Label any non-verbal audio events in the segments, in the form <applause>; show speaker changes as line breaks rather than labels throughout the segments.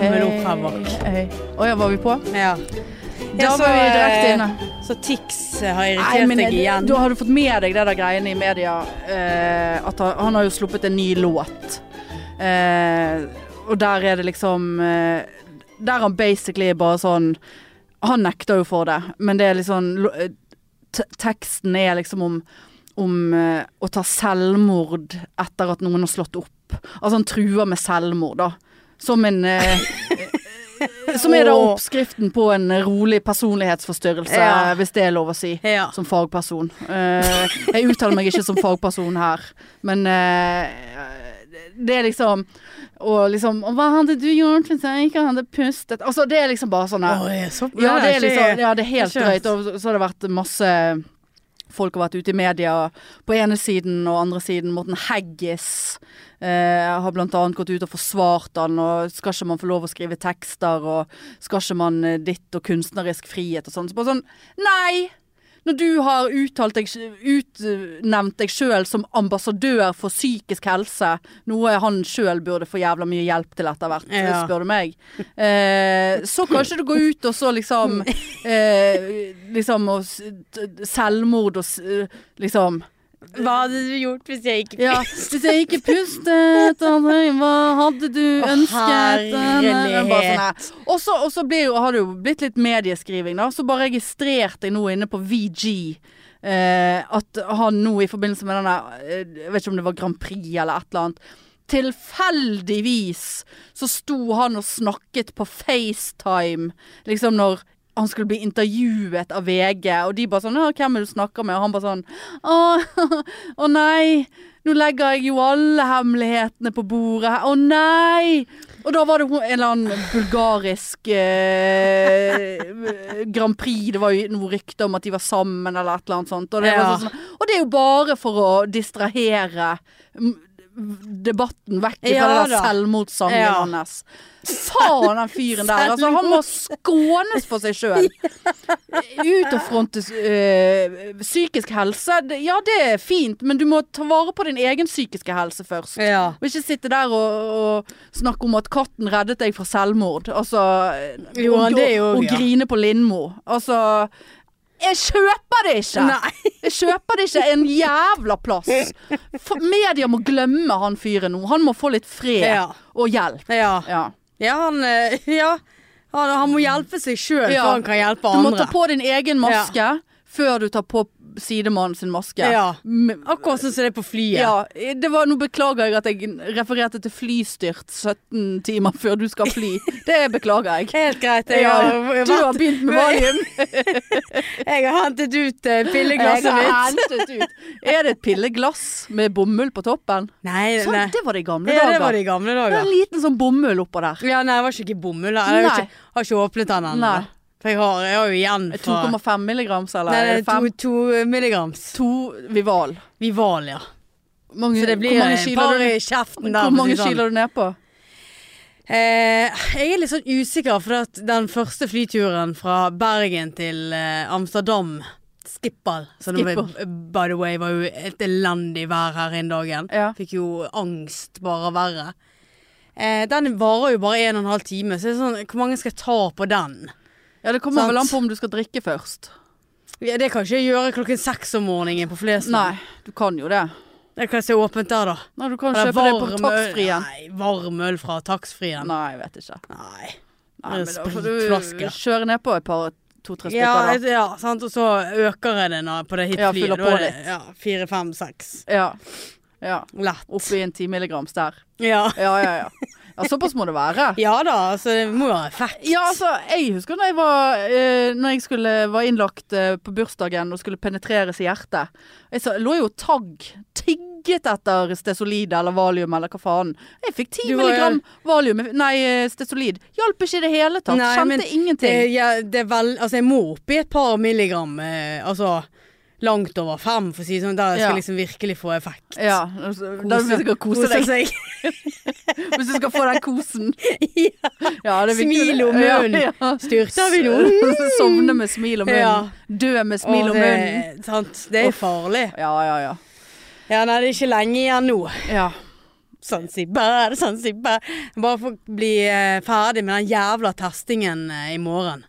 fremover.
Hei. Å ja, var vi på?
Ja.
Da
så,
var vi direkte
eh,
inne.
Så Tix har
Nei,
irritert
men
deg igjen.
Da har du fått med deg det der greiene i media eh, At han, han har jo sluppet en ny låt eh, Og der er det liksom eh, Der han basically er bare sånn Han nekter jo for det Men det er liksom lo- eh, te- Teksten er liksom om om eh, å ta selvmord etter at noen har slått opp. Altså han truer med selvmord da. Som en...
<laughs>
eh, som er da
Åh.
oppskriften på en rolig personlighetsforstyrrelse,
Ja.
hvis det er lov å si
Ja.
som fagperson. Eh, jeg uttaler meg ikke som fagperson her, men eh, det er liksom Og liksom Og hva hadde du gjort hvis jeg ikke hadde pustet? Altså, det er liksom bare sånn her.
Oi, så,
Ja, det er liksom Ja, det er helt
det er skjønt.
drøyt. Og så- så har det vært masse Folk har vært ute i media på ene siden og andre siden. Morten Haggis eh, har blant annet gått ut og forsvart han, og skal ikke man få lov å skrive tekster, og skal ikke man eh, ditt og kunstnerisk frihet og sånn. Så bare sånn Nei! Når du har uttalt deg, utnevnt deg sjøl som ambassadør for psykisk helse, noe han sjøl burde få jævla mye hjelp til etter hvert,
Ja.
spør du meg. Eh, så kanskje du går ut og så liksom eh, Liksom og s- t- selvmord og s- eh, liksom
Hva hadde du gjort hvis jeg ikke
Ja, hvis jeg ikke pustet Andrei, Hva hadde du
Å,
ønsket? eh,
herlighet.
Bare sånn her. Og så og så blir jo- har det jo blitt litt medieskriving, da. Så bare registrerte jeg nå inne på VG eh, at han nå i forbindelse med denne eh, Jeg vet ikke om det var Grand Prix eller et eller annet. Tilfeldigvis så sto han og snakket på FaceTime, liksom når han skulle bli intervjuet av VG, og de bare sånn «Å, 'Hvem er det du snakker med?' Og han bare sånn 'Å, <laughs> å nei, nå legger jeg jo alle hemmelighetene på bordet her. Å nei!' Og da var det hun- en eller annen bulgarisk eh, Grand Prix, det var jo noe rykte om at de var sammen eller et eller annet sånt. Og det,
Ja.
var sånn, og det er jo bare for å distrahere mm, debatten vekk fra
Ja
det der
da.
selvmordssangen
Ja.
hans. Faen, den fyren der. Altså, han må skånes for seg sjøl. Ut og fronte øh, psykisk helse. det- Ja, det er fint, men du må ta vare på din egen psykiske helse først.
Ja.
Og ikke sitte der og, og snakke om at katten reddet deg fra selvmord. Altså
Jo,
og,
det er jo-
og
ja.
grine på Lindmo. Altså Jeg kjøper det ikke!
Nei.
Jeg kjøper det ikke en jævla plass. For media må glemme han fyren nå. Han må få litt fred
Ja.
og hjelp.
Ja.
Ja.
ja, han eh, Ja. Han, han må hjelpe seg sjøl
Ja.
før han kan hjelpe
Du må
andre.
ta på din egen maske før du tar på sidemannen sin maske.
Ja.
M-
Akkurat sånn som det er på flyet.
Ja, det var, nå beklager jeg at jeg refererte til flystyrt 17 timer før du skal fly. Det beklager jeg.
Helt greit. Jeg
Ja,
har, vært-
du har begynt
<laughs>
med valium.
jeg har hentet ut eh, pilleglasset
Jeg har
mitt.
hentet ut. Er det et pilleglass med bomull på toppen?
Nei,
Sånn,
Eh, nei.
det var det i gamle
Ja, det
dager.
var det i
Det
gamle
er
dager.
en liten sånn bomull oppå der.
Ja, nei, det var ikke bomull. da. Jeg har
Nei.
ikke, har ikke åpnet den ennå.
Nei.
For jeg har, jeg har jo igjen fra
2,5 milligrams, eller?
Nei, det
er det
er
fem?
to, to
eh,
milligrams.
To Vival.
Vival, ja.
Mange,
Så det blir
hvor mange
en
kiler
par
du,
i kjeften
hvor
der. for å si
mange
sånn.
kiler du ned på?
Eh, jeg er litt sånn usikker, for at den første flyturen fra Bergen til eh, Amsterdam Skippal, som nå
Schiphol.
er- by the way var jo helt elendig vær her en dagen.
Ja.
Fikk jo angst bare av været. Eh, den varer jo bare en og en halv time, så det er sånn, hvor mange skal jeg ta på den?
Ja, det kommer
Sant.
vel an på om du skal drikke først.
Ja, det kan ikke jeg gjøre klokken seks om morgenen på Flesland.
Nei, du kan jo det.
Det kan jeg se åpent der, da.
Nei, du kan
Eller
kjøpe det på
varm øl-
taxfree-en.
Nei, varm øl fra taxfree-en.
Nei, jeg vet ikke.
Nei.
Nei, men da får du
Spritflaske.
kjøre ned på et par, to-tre
Ja,
stykker da.
et- ja, sant, og så øker jeg det nå på det
Ja,
hitflyet.
fyller
Da er
på
det-
litt.
Ja, fire, fem, seks.
Ja. ja.
Lett.
Oppi en 10 milligrams der.
Ja.
Ja, ja, ja. <laughs> Ja, såpass må det være.
ja da, altså det må jo være fett.
Ja, altså, jeg husker når jeg var, eh, når jeg skulle, var innlagt eh, på bursdagen og skulle penetreres i hjertet. Jeg sa, lå jo tagg, tigget etter stesolid eller valium eller hva faen. Jeg fikk 10
Du var-
milligram valium, nei, eh, stesolid. Hjalp ikke i det hele tatt,
Nei, men
kjente ingenting.
Det, ja, det er vel, altså jeg må oppi et par milligram, eh, altså langt over fem, for å si det sånn, der jeg skal
Ja.
liksom virkelig få effekt.
Ja, altså, da vil du sikkert kose deg
<laughs> seg.
hvis du skal få den kosen. <laughs> Ja, det er viktig.
Smil om
Ja,
munnen.
ja.
Styrter vi nå? <laughs>
<laughs> Sovne med smil om
Ja.
munnen. Dø med smil
Og
om
det-
munnen.
Sant, det er farlig.
Ja, ja, ja.
Ja, nei, det er ikke lenge igjen nå.
ja.
Zanzibar, Zanzibar. Bare for å bli eh, ferdig med den jævla testingen eh, i morgen.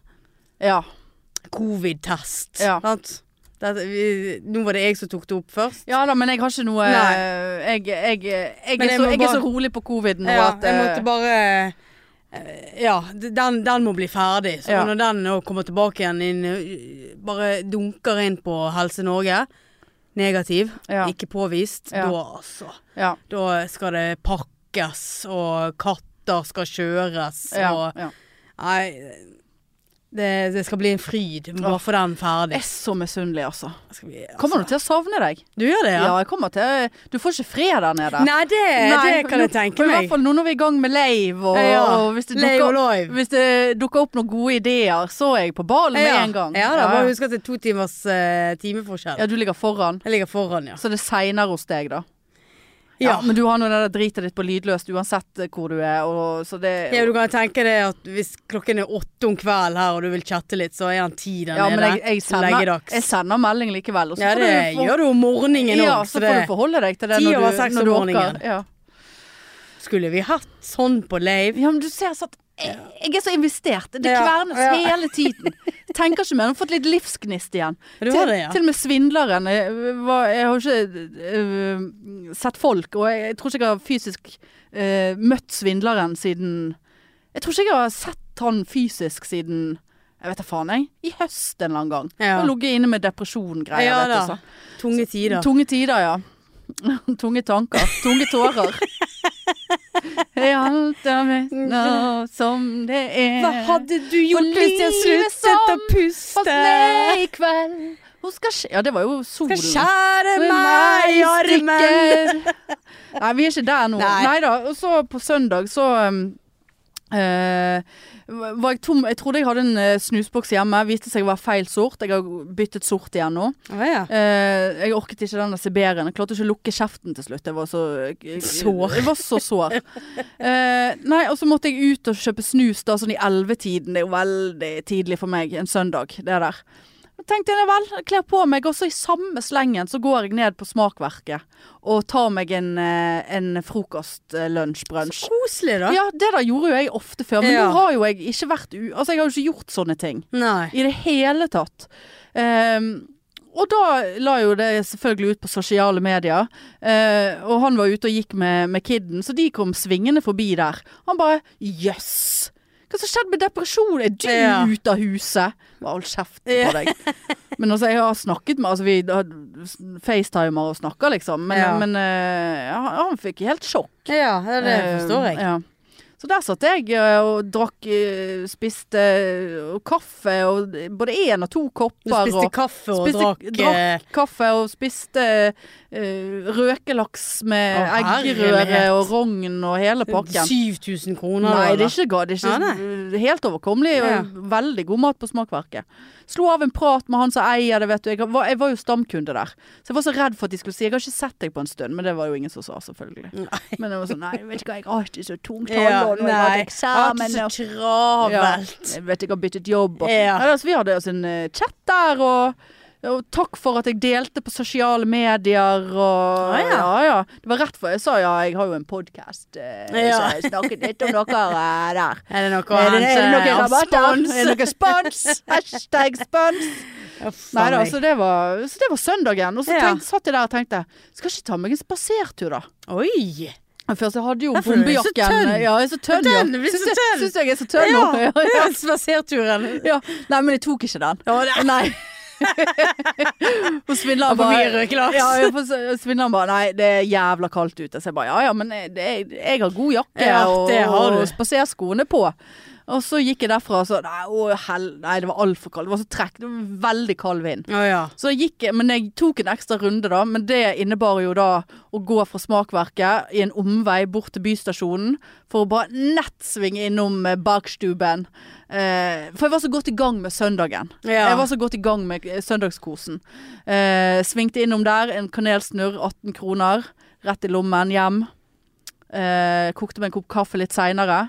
Ja.
Covid-test.
Ja.
Sant? Dette- vi- nå var det jeg som tok det opp først.
ja da, men jeg har ikke noe eh,
Nei.
Jeg, jeg, jeg,
Men jeg
er, så,
må
jeg er
bare-
så rolig på covid nå
Ja,
at
jeg
eh,
måtte bare eh, Ja, d- den, den må bli ferdig. Så
Ja.
når den nå kommer tilbake igjen inn, eh, bare dunker inn på Helse Norge, negativ,
Ja.
ikke påvist,
Ja.
da altså.
ja,
Da skal det pakkes, og katter skal kjøres,
ja,
og
ja.
Nei. Det, det skal bli en fryd bare å få den
Jeg
ferdig.
er så misunnelig, altså.
Skal vi, altså.
Kommer du til å savne deg?
Du gjør det,
Ja,
ja?
jeg kommer til Du får ikke fred der nede.
Nei, det, det kan
nå-
jeg tenke
og I
meg.
hvert fall nå når vi er i gang med Lave, og,
Ja,
og hvis, det
Lave og
dukker,
live.
hvis det dukker opp noen gode ideer, så er jeg på ballen med
ja.
en gang.
Ja da,
ja.
bare husk at det er to timers eh, timeforskjell.
ja, du ligger foran.
Jeg ligger foran, ja.
Så det er seinere hos deg, da. Ja,
Ja,
Men du har nå det der dritet ditt på lydløst uansett eh, hvor du er, og så det
ja du kan tenke deg at hvis klokken er åtte om kvelden her, og du vil chatte litt, så er han ti der
Ja, men
nede.
jeg, jeg, sender,
Leggedags.
jeg sender melding likevel. Og så
ja,
får
det
du, for,
gjør du om morgenen òg,
ja,
så
så
det
får du forholde deg til det
Ti
når du,
over seks om
når du
morgenen.
orker. Ja.
Skulle vi hatt sånn på Lave?
ja, men du ser sånn jeg, jeg er så investert. Det
Ja,
kvernes
ja.
hele
<laughs>
tiden. Tenker ikke mer. Har fått litt livsgnist igjen.
Du
til,
har det, ja.
til og med svindleren. Jeg, var, jeg har ikke øh, sett folk, og jeg, jeg tror ikke jeg har fysisk øh, møtt svindleren siden Jeg tror ikke jeg har sett han fysisk siden jeg vet da faen, jeg. I høst en eller annen gang.
Ja.
Og ligget inne med depresjon-greier.
Ja
vet du,
da.
så.
Tunge tider.
Tunge tider, ja. <laughs> Tunge tanker. Tunge
<laughs>
tårer. I alt jeg vet nå som det er.
Hva hadde du gjort
For
hvis jeg
livet
sluttet å
som Falt
puste?
ned i kveld. Hun skal skje... Ja, det var jo solen.
Skal skjære
Med
meg i armen.
stykker. <laughs> Nei, vi er ikke der nå.
Nei.
Nei da. Og så på søndag så um, eh, var jeg tom Jeg trodde jeg hadde en eh, snusboks hjemme. Viste seg å være feil sort. Jeg har byttet sort igjen nå.
Å ja.
Eh, jeg orket ikke den der siberien. Jeg klarte ikke å lukke kjeften til slutt. Jeg var så eh,
Sår.
Jeg var så sår. Eh, nei, og så måtte jeg ut og kjøpe snus da sånn i ellevetiden. Det er jo veldig tidlig for meg en søndag, det der. Da tenkte jeg "Nei vel, jeg kler på meg, og så i samme slengen så går jeg ned på Smakverket og tar meg en, eh, en frokost-lunsj-brunsj.
Koselig, da.
Ja, det der gjorde jo jeg ofte før, men
Ja.
nå har jo jeg ikke vært u... Altså, jeg har jo ikke gjort sånne ting.
Nei.
I det hele tatt. Ehm, og da la jo det selvfølgelig ut på sosiale medier. Eh, og han var ute og gikk med, med kiden, så de kom svingende forbi der. Han bare jøss. Hva som skjedde med depresjon? Er du
Ja.
ute av huset? Bare hold kjeft
Ja.
på deg. Men altså, jeg har snakket med Altså, vi har facetimer og snakker, liksom. Men,
Ja.
men eh, ja, han fikk helt sjokk.
Ja, ja, det forstår
Eh,
jeg.
Ja. Så der satt jeg eh, og drakk, eh, spiste eh, kaffe og både én og to
Du
kopper.
spiste
og
kaffe og
spiste-
drakk, eh,
kaffe og spiste eh, røkelaks med
Å,
eggerøre
herlighet.
og rogn og hele pakken.
7000 kroner.
Nei, det
da,
er ikke, ga- det er
Nei,
ikke eh, helt overkommelig. Og
Ja.
Veldig god mat på Smakverket. Slo av en prat med han som eier det, vet du. Jeg var, jeg var jo stamkunde der. Så jeg var så redd for at de skulle si 'jeg har ikke sett deg på en stund', men det var jo ingen som sa, selvfølgelig. Men jeg var sånn 'nei, vet du hva, jeg har ikke så tungt
da. Ja,
håndhold, og jeg har hatt
nei.
eksamen'.
Jeg har
og-
hatt det så travelt.
jeg vet ikke, jeg har byttet jobb. Og.
Ja.
Nei, altså, vi hadde altså en eh, chat der, og, og takk for at jeg delte på sosiale medier. Og,
Å, Ah, ja.
ja. Det var rett før jeg sa ja, jeg har jo en podkast, eh,
Ja.
så jeg snakket litt om dere eh, der.
Er det noe eh, å
Er det,
hente?
er det noe
av
rabatter?
spons?
Er det noe spons?
<laughs>
Hashtag spons!
Ja, faen
Nei da,
meg.
så det altså- var, så det var søndagen. Og så
Ja.
tenk, satt jeg der og tenkte skal ikke ta meg en spasertur, da.
Oi!
Men Først altså, jeg hadde jo
Derfor er du så
bombejakken.
tønn.
Ja, jeg er så tønn, ja.
Tønn, du blir så
Syns jeg-
tønn.
Syns jeg er så tønn nå?
Ja,
Ja, ja.
Spaserturen.
Ja, nei, men jeg tok ikke den.
Å,
<laughs>
det-
Nei. Og svindleren
Og for
bare
mye røykelaks.
Ja, ja, for så- og svindleren bare Nei, det er jævla kaldt ute. Så jeg bare Ja ja, men det er, jeg har god jakke
Ja,
og,
det har du.
og spaserskoene på. Og så gikk jeg derfra og så Nei, å, hel, nei det var altfor kaldt. Det var så trekk. Det var veldig kald vind.
Å ja.
Så jeg gikk, men jeg tok en ekstra runde da, men det innebar jo da å gå fra smakverket i en omvei bort til bystasjonen, for å bare nettsvinge innom eh, bakstuben. Eh, for jeg var så godt i gang med søndagen.
Ja.
Jeg var så godt i gang med eh, søndagskosen. Eh, svingte innom der, en kanelsnurr, 18 kroner, rett i lommen, hjem. Eh, kokte meg en kopp kaffe litt seinere.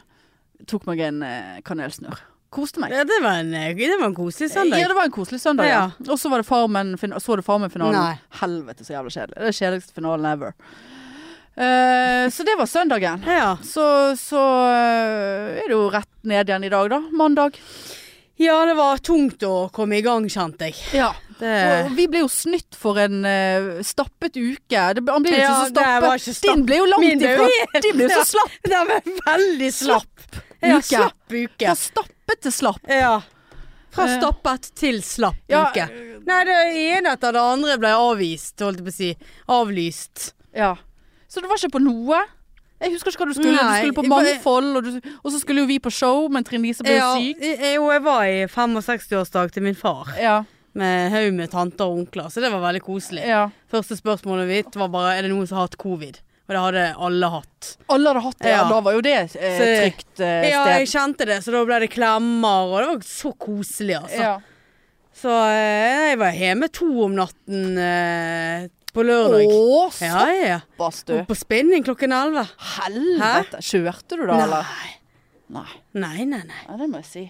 Tok meg en eh, kanelsnurr. Koste meg.
ja det, var en, eh, det var en koselig søndag.
Ja, det var en koselig søndag. Ja. Og så var det Farmen, fin- så du Farmen-finalen.
Nei.
Helvete så jævla kjedelig. Det er den kjedeligste finalen ever. Eh, så det var søndagen.
Ja.
Så, så eh, er det jo rett ned igjen i dag, da. Mandag.
ja, det var tungt å komme i gang, kjente jeg.
Ja.
Det,
Og vi ble jo snytt for en eh, stappet uke. Det, ble- han ble jo ikke
Ja,
så
det var
stappet.
ikke stapp.
Din ble jo langt
Min ble jo
ifra. Din ble jo så
<laughs>
slapp.
Den var veldig slapp. Ja,
uke.
slapp uke.
Fra stappet til slapp.
Ja. Fra
Eh.
stappet til slapp
Ja,
uke. Nei, det ene etter det andre ble avvist, holdt jeg på å si. Avlyst.
Ja. Så du var ikke på noe? Jeg husker ikke hva du skulle.
Nei,
du skulle på
jeg bare-
Mangfold, og, du, og så skulle jo vi på show, men Trine Lise ble jo syk.
jeg, jeg, jeg var i 65-årsdag til min far
Ja,
med haug med tanter og onkler, så det var veldig koselig.
ja.
Første spørsmålet mitt var bare er det noen som har hatt covid. Og det hadde alle hatt.
Alle hadde hatt det, ja.
Ja.
da var jo det et eh,
Så-
trygt eh,
Ja, jeg
sted.
kjente det, så da ble det klemmer, og det var så koselig, altså.
Ja.
Så eh, jeg var hjemme to om natten eh, på lørdag.
Å,
Ja, ja.
såpass du.
Og på spinning klokken elleve.
Helvete. Kjørte du da, eller?
Nei.
Nei.
nei, nei, nei.
Ja, det må jeg si.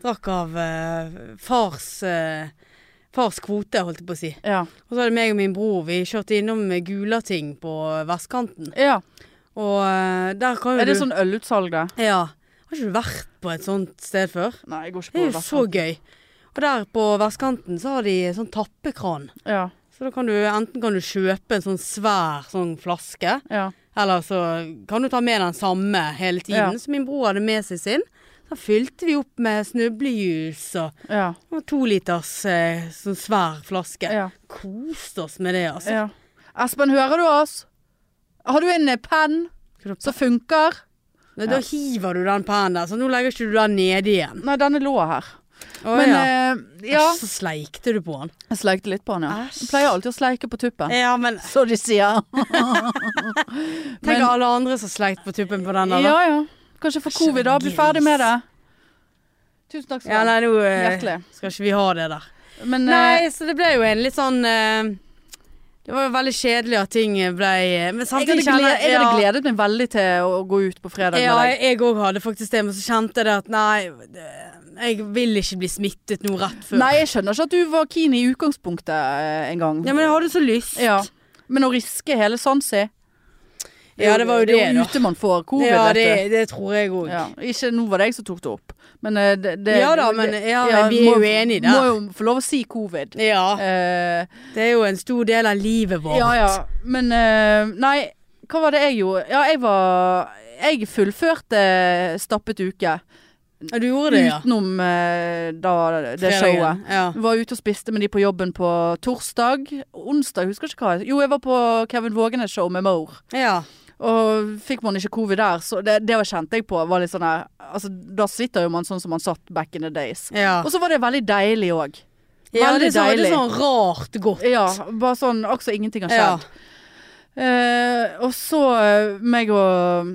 Drakk av eh, fars eh, Fars kvote, holdt jeg på å si.
Ja.
Og så var det meg og min bror. Vi kjørte innom eh, Gulating på vestkanten.
ja.
Og eh, der kan jo
Er det
du
sånn ølutsalg, det?
Ja. Har ikke du vært på et sånt sted før?
Nei, jeg går ikke
Det
på
er jo så gøy. Og der på vestkanten så har de sånn tappekran.
Ja,
Så da kan du enten kan du kjøpe en sånn svær sånn flaske,
ja.
eller så kan du ta med den samme hele tiden.
Ja.
Så min bror hadde med seg sin. Da fylte vi opp med snublejus og,
Ja,
og to liters eh, sånn svær flaske.
ja,
Koste oss med det, altså.
ja. Espen, hører du oss? Har du en eh, penn
Skal du-
som funker?
Men Da hiver du den pennen der, så nå legger ikke du den nede igjen.
Nei, denne lå her.
Å,
Men
ja.
eh, ja.
Så sleikte du på den.
Jeg sleikte litt på den, ja.
Æsj.
Jeg pleier alltid å sleike på tuppen.
Ja, men
<laughs> Så de
<laughs>
sier.
tenk
Men-
alle andre som sleit på tuppen på den der. da.
Ja, ja. Kanskje få covid da. Bli ferdig med det. Tusen takk skal du
Ja,
ha.
nei, nå eh,
Hjertelig.
skal ikke vi ha det der.
Men eh,
Nei, så det ble jo en litt sånn eh, Det var jo veldig kjedelig at ting ble eh, Men
jeg hadde,
samtidig
gled, jeg hadde
ja,
gledet meg veldig til å gå ut på fredag
ja,
med deg.
jeg òg hadde faktisk det, men så kjente jeg det at nei, det, jeg vil ikke bli smittet nå rett før.
Nei, jeg skjønner ikke at du var keen i utgangspunktet eh, en gang.
Ja, men jeg hadde så lyst.
Ja. Men å riske hele sansen
Ja, det var jo det,
er
da.
jo ute man får covid,
ja, det,
vet du.
det tror jeg òg.
Ja. Ikke nå var det jeg som tok det opp, men eh, det, det
Ja da, men ja, vi er
må-
jo enige i det.
Må jo få lov å si covid.
Ja,
Eh,
det er jo en stor del av livet vårt.
Ja, ja. Men eh, Nei, hva var det jeg gjorde? Ja, jeg var Jeg fullførte eh, stappet uke.
Ja, Du gjorde det, ja.
Utenom eh, da Mm, det
Fredagen.
showet.
Ja.
Var ute og spiste med de på jobben på torsdag. Onsdag, jeg husker ikke hva. jeg- Jo, jeg var på Kevin Vågenes show med Moore.
ja.
Og fikk man ikke covid der, så det, det var kjente jeg på. Var litt sånn her, altså, da sitter jo man sånn som man satt back in the days.
ja.
Og så var det veldig deilig òg.
ja det, er så, det
deilig.
er sånn rart godt. altså.
Ja, bare sånn akkurat ingenting har
Ja.
skjedd. Eh, og så eh, meg og eh,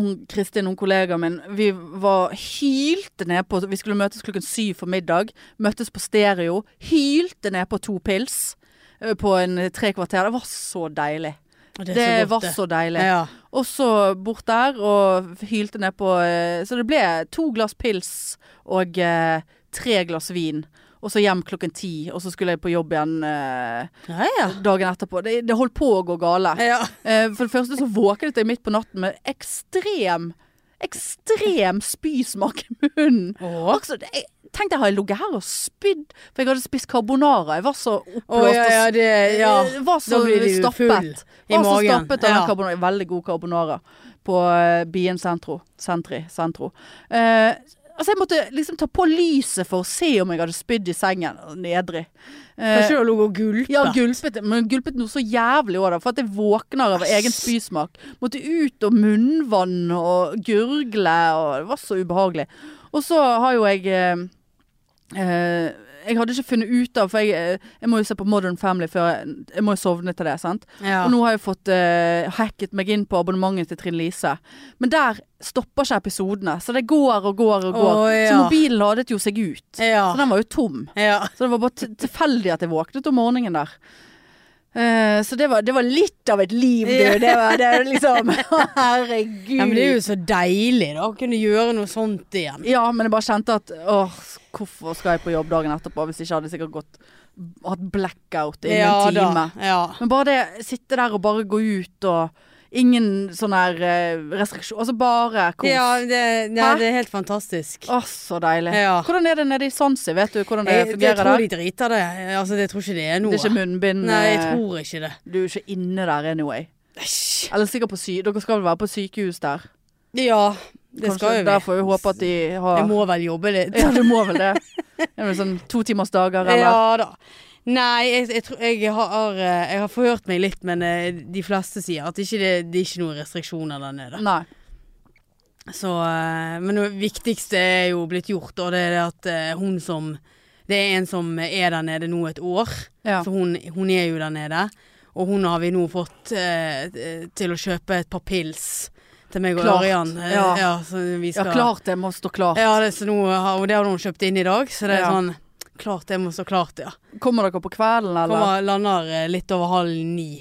hun, Kristin, hun kollegaen min, vi var hylte ned på Vi skulle møtes klokken syv for middag. Møttes på stereo. Hylte ned på to pils eh, på en tre kvarter. Det var så deilig.
Og
Det,
er så godt,
var
det.
så deilig.
ja.
Og så bort der og hylte ned på eh, Så det ble to glass pils og eh, tre glass vin. Og så hjem klokken ti, og så skulle jeg på jobb igjen eh,
Ja, ja.
dagen etterpå. Det, det holdt på å gå gale.
ja.
Eh, for det første så våknet jeg midt på natten med ekstrem, ekstrem spysmak i munnen.
Åh.
Altså, det- jeg tenkte jeg har jeg ligget her og spydd, for jeg hadde spist carbonara. Jeg var så
Å
oppblåst
ja,
og
ja, det ja.
Eh, Var så
Da blir du
stappet.
full i
var så
magen.
stappet av den
Ja.
carbonara. Veldig god carbonara på eh, Bien Centro. Sentri. Centro. Eh, altså, jeg måtte liksom ta på lyset for å se om jeg hadde spydd i sengen. Nedrig. Eh,
Kanskje du har ligget og gulpet?
ja, gulpet, men gulpet noe så jævlig òg, da. For at jeg våkner av egen spysmak. Måtte ut og munnvann og gurgle, og det var så ubehagelig. Og så har jo jeg eh, eh, Jeg hadde ikke funnet ut av, for jeg, eh, jeg må jo se på Modern Family før jeg, jeg må jo sovne til det, sant.
Ja.
Og nå har jeg fått eh, hacket meg inn på abonnementet til Trine Lise. Men der stopper ikke episodene. Så det går og går og går.
Å,
Så
ja.
mobilen ladet jo seg ut. Så
ja.
den var jo tom.
ja.
Så det var bare t- tilfeldig at jeg våknet om morgenen der. Eh, så det var, det var litt av et liv, du.
Ja.
Det var det er liksom <laughs> Herregud.
Ja, men det er jo så deilig da, å kunne gjøre noe sånt igjen.
Ja, men jeg bare kjente at åh, hvorfor skal jeg på jobb dagen etterpå? Hvis ikke hadde jeg sikkert gått hatt blackout innen en time.
Ja.
Men bare det, sitte der og bare gå ut og Ingen sånn her eh, restriksjon. Altså bare kos.
Ja, det, ja,
Hæ?
det er helt fantastisk.
Å, så deilig.
Ja.
Hvordan er det nede i Sansi? Vet du hvordan det
Jeg, jeg
fungerer
tror
der?
de driter det. Altså, jeg tror ikke det er noe.
Det er ikke munnbind.
Nei, jeg
eh,
tror ikke det.
Du er ikke inne der anyway.
Æsj.
Eller sikkert på sy... Dere skal vel være på sykehus der?
Ja, det
Kanskje
skal jo vi.
Der får vi håpe at de har
Jeg må vel jobbe litt.
<laughs> Ja, du må vel det.
<laughs>
Er det sånn to timers dager, eller?
Ja da. Nei, jeg, jeg, tror, jeg, har, eh, jeg har forhørt meg litt, men eh, de fleste sier at ikke det, det er ikke noen restriksjoner der nede.
Nei.
Så, eh, men det viktigste er jo blitt gjort, og det er det at eh, hun som Det er en som er der nede nå et år,
Ja.
for hun, hun er jo der nede. Og hun har vi nå fått eh, til å kjøpe et par pils til meg og
Klart,
Ørjan. eh,
ja.
Ja, så vi
ja,
skal
klart det må stå klart.
Ja, det, er så nå, har- og det har hun kjøpt inn i dag, så det er
Ja.
sånn Klart det må så klart, ja.
Kommer dere på kvelden, eller?
Kommer, lander eh, litt over halv ni.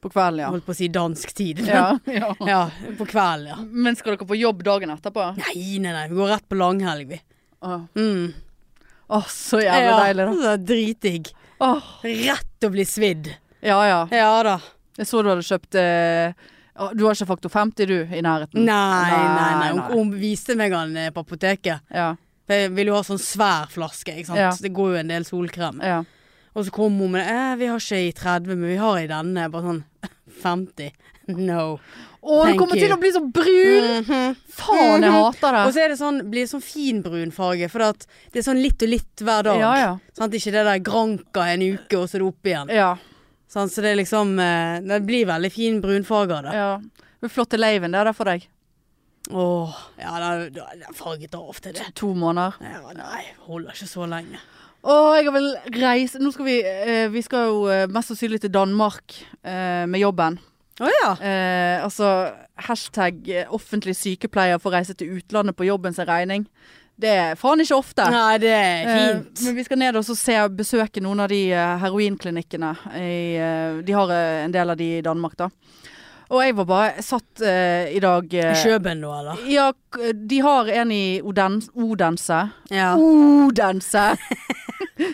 På kvelden, ja.
Holdt på å si dansk tid. men-
Ja. ja.
<laughs> ja. På kvelden, ja.
Men skal dere på jobb dagen etterpå?
Nei, nei, nei. Vi går rett på langhelg, vi.
Åh,
Mm.
Åh, så jævlig deilig, da.
det er Dritdigg.
Åh,
Rett å bli svidd.
ja ja.
Ja da.
Jeg så du hadde kjøpt eh, å, Du har ikke faktor 50, du, i
Nei,
nærheten?
nei, nei.
Mm. Nei, nei.
Hun, hun viste meg han eh, på apoteket.
Ja.
Jeg vil jo ha sånn svær flaske, ikke sant.
Ja.
Det går jo en del solkrem.
ja.
Og så kom hun med eh, Vi har ikke i 30, men vi har i denne. Jeg Bare sånn <laughs> 50. No.
Å, du
Thank
kommer
you.
til å bli så brun! Faen, jeg hater
Og
det.
så er det sånn, blir det sånn finbrun farge, for at det er sånn litt og litt hver dag.
Ja, ja.
Sant? Ikke det der granka en uke, og så er det opp igjen.
ja,
Sant? Så det er liksom eh, Det blir veldig fin brunfarge av det.
ja. Det er flotte leiven det er der for deg.
Åh, ja, den- den den farget av til det.
To måneder.
Ja, nei, holder ikke så lenge.
Å, jeg vil reise Nå skal vi eh, Vi skal jo eh, mest sannsynlig til Danmark eh, med jobben.
Å ja.
Eh, altså, hashtag eh, offentlig sykepleier for å reise til utlandet på jobben sin regning. Det er faen ikke ofte.
Nei, det er fint.
Eh, men vi skal ned og så se, besøke noen av de eh, heroinklinikkene. I, eh, de har eh, en del av de i Danmark, da. Og jeg var bare jeg satt eh, i dag eh,
I Kjøben nå, eller?
Ja, k- de har en i Odens, Odense.
Ja.
Odense!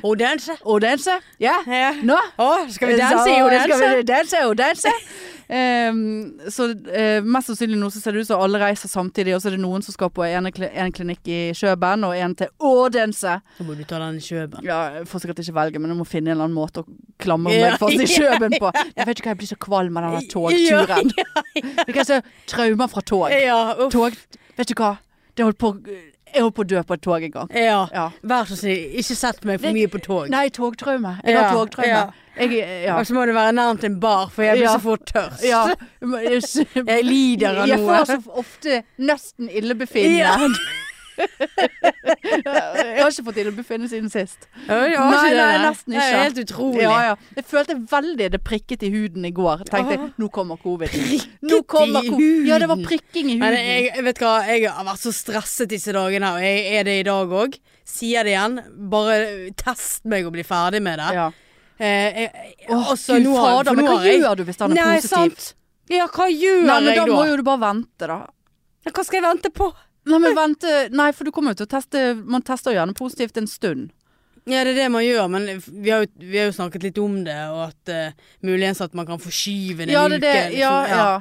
Odense.
Odense? Ja.
Ja.
Nå?
Å, skal vi danse i
Eh, Så-
Odense?
Skal vi danse i Odense? Ehm, så eh, mest sannsynlig nå så ser det ut som alle reiser samtidig, og så er det noen som skal på en, kli- en klinikk i Kjøben og en til Odense.
Så må du ta den i Kjøben.
Ja, jeg får sikkert ikke velge, men jeg må finne en eller annen måte å klamre
<laughs> Ja,
meg fast i kjøben på. Jeg vet ikke hva jeg blir så kvalm av denne
<laughs>
togturen. Det kan jeg se traumer fra tog.
Ja, uff.
Tog, vet du hva? Det holdt på, jeg holdt på å dø på et tog en gang.
Ja.
Ja.
Vær så snill, ikke sett meg for mye på tog.
Nei, togtraume. Jeg har
Ja,
togtraume.
ja.
Jeg, ja.
Og så må det være nærmt en bar, for jeg blir
Ja.
så fort tørst.
ja. men Jeg jeg
<laughs> Jeg lider av
jeg
noe.
får så ofte nesten illebefinnende. <laughs>
<laughs>
Jeg har ikke fått illebefinnende siden sist.
Ja, jeg har
Nei,
ikke det
nei,
der.
nesten
Det
ikke.
er helt utrolig.
Ja, ja. Jeg følte veldig det prikket i huden i går. Tenkte jeg, nå kommer covid. Nå
Prikket
kommer
i
ko-
huden?
Ja, det var prikking i
Men
huden.
jeg, jeg vet hva, jeg har vært så stresset disse dagene, og jeg er det i dag òg. Sier det igjen. Bare test meg og bli ferdig med det.
ja.
Eh, jeg,
Åh,
altså,
Gud
nå har-
fader,
for
men
nå
hva
har jeg-
gjør du hvis den er
Nei,
positiv?
sant. Ja, hva gjør
Nei, men
jeg
da
da?
må jo du bare vente, da.
Hva skal jeg vente på?
Nei, men vente. Nei, for du kommer jo til å teste Man tester jo gjerne positivt en stund.
Ja, det er det man gjør, men vi har jo, vi har jo snakket litt om det, og at eh, muligens at man kan forskyve det
Ja,
en
det er
uke.
det.
liksom.
Ja, ja.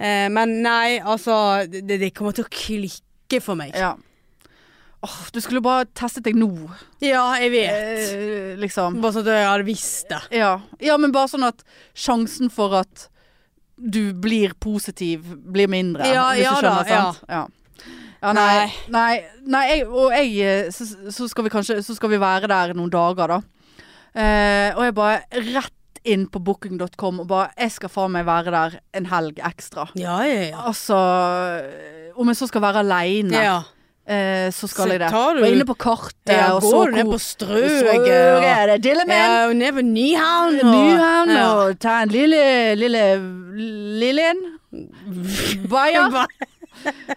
Eh, men nei, altså, det, det kommer til å klikke for meg.
ja. Åh, du skulle bare testet deg nå,
Ja, jeg vet.
eh, liksom.
Bare sånn at jeg hadde visst det.
Ja. ja, men bare sånn at sjansen for at du blir positiv, blir mindre.
Ja,
hvis
ja
du skjønner,
da, ja.
sant? Ja. Ja, nei, nei, nei jeg, og jeg, eh, så, så skal vi kanskje, så skal vi være der noen dager da. Eh, og jeg bare rett inn på booking.com og bare, jeg skal faen meg være der en helg ekstra.
Ja, ja, ja.
Altså, eh, om jeg så skal være alene,
ja.
eh, så skal
Så
jeg det.
tar du-
Og inne på kartet,
ja
og så
går du ned på
Strøget,
Strøget?
det er dille med.
Ja, og ned på Nyhavn. og-
Nyhavn
ja.
og ta en lille lille lille en.
<laughs>
Bayer.
Bare-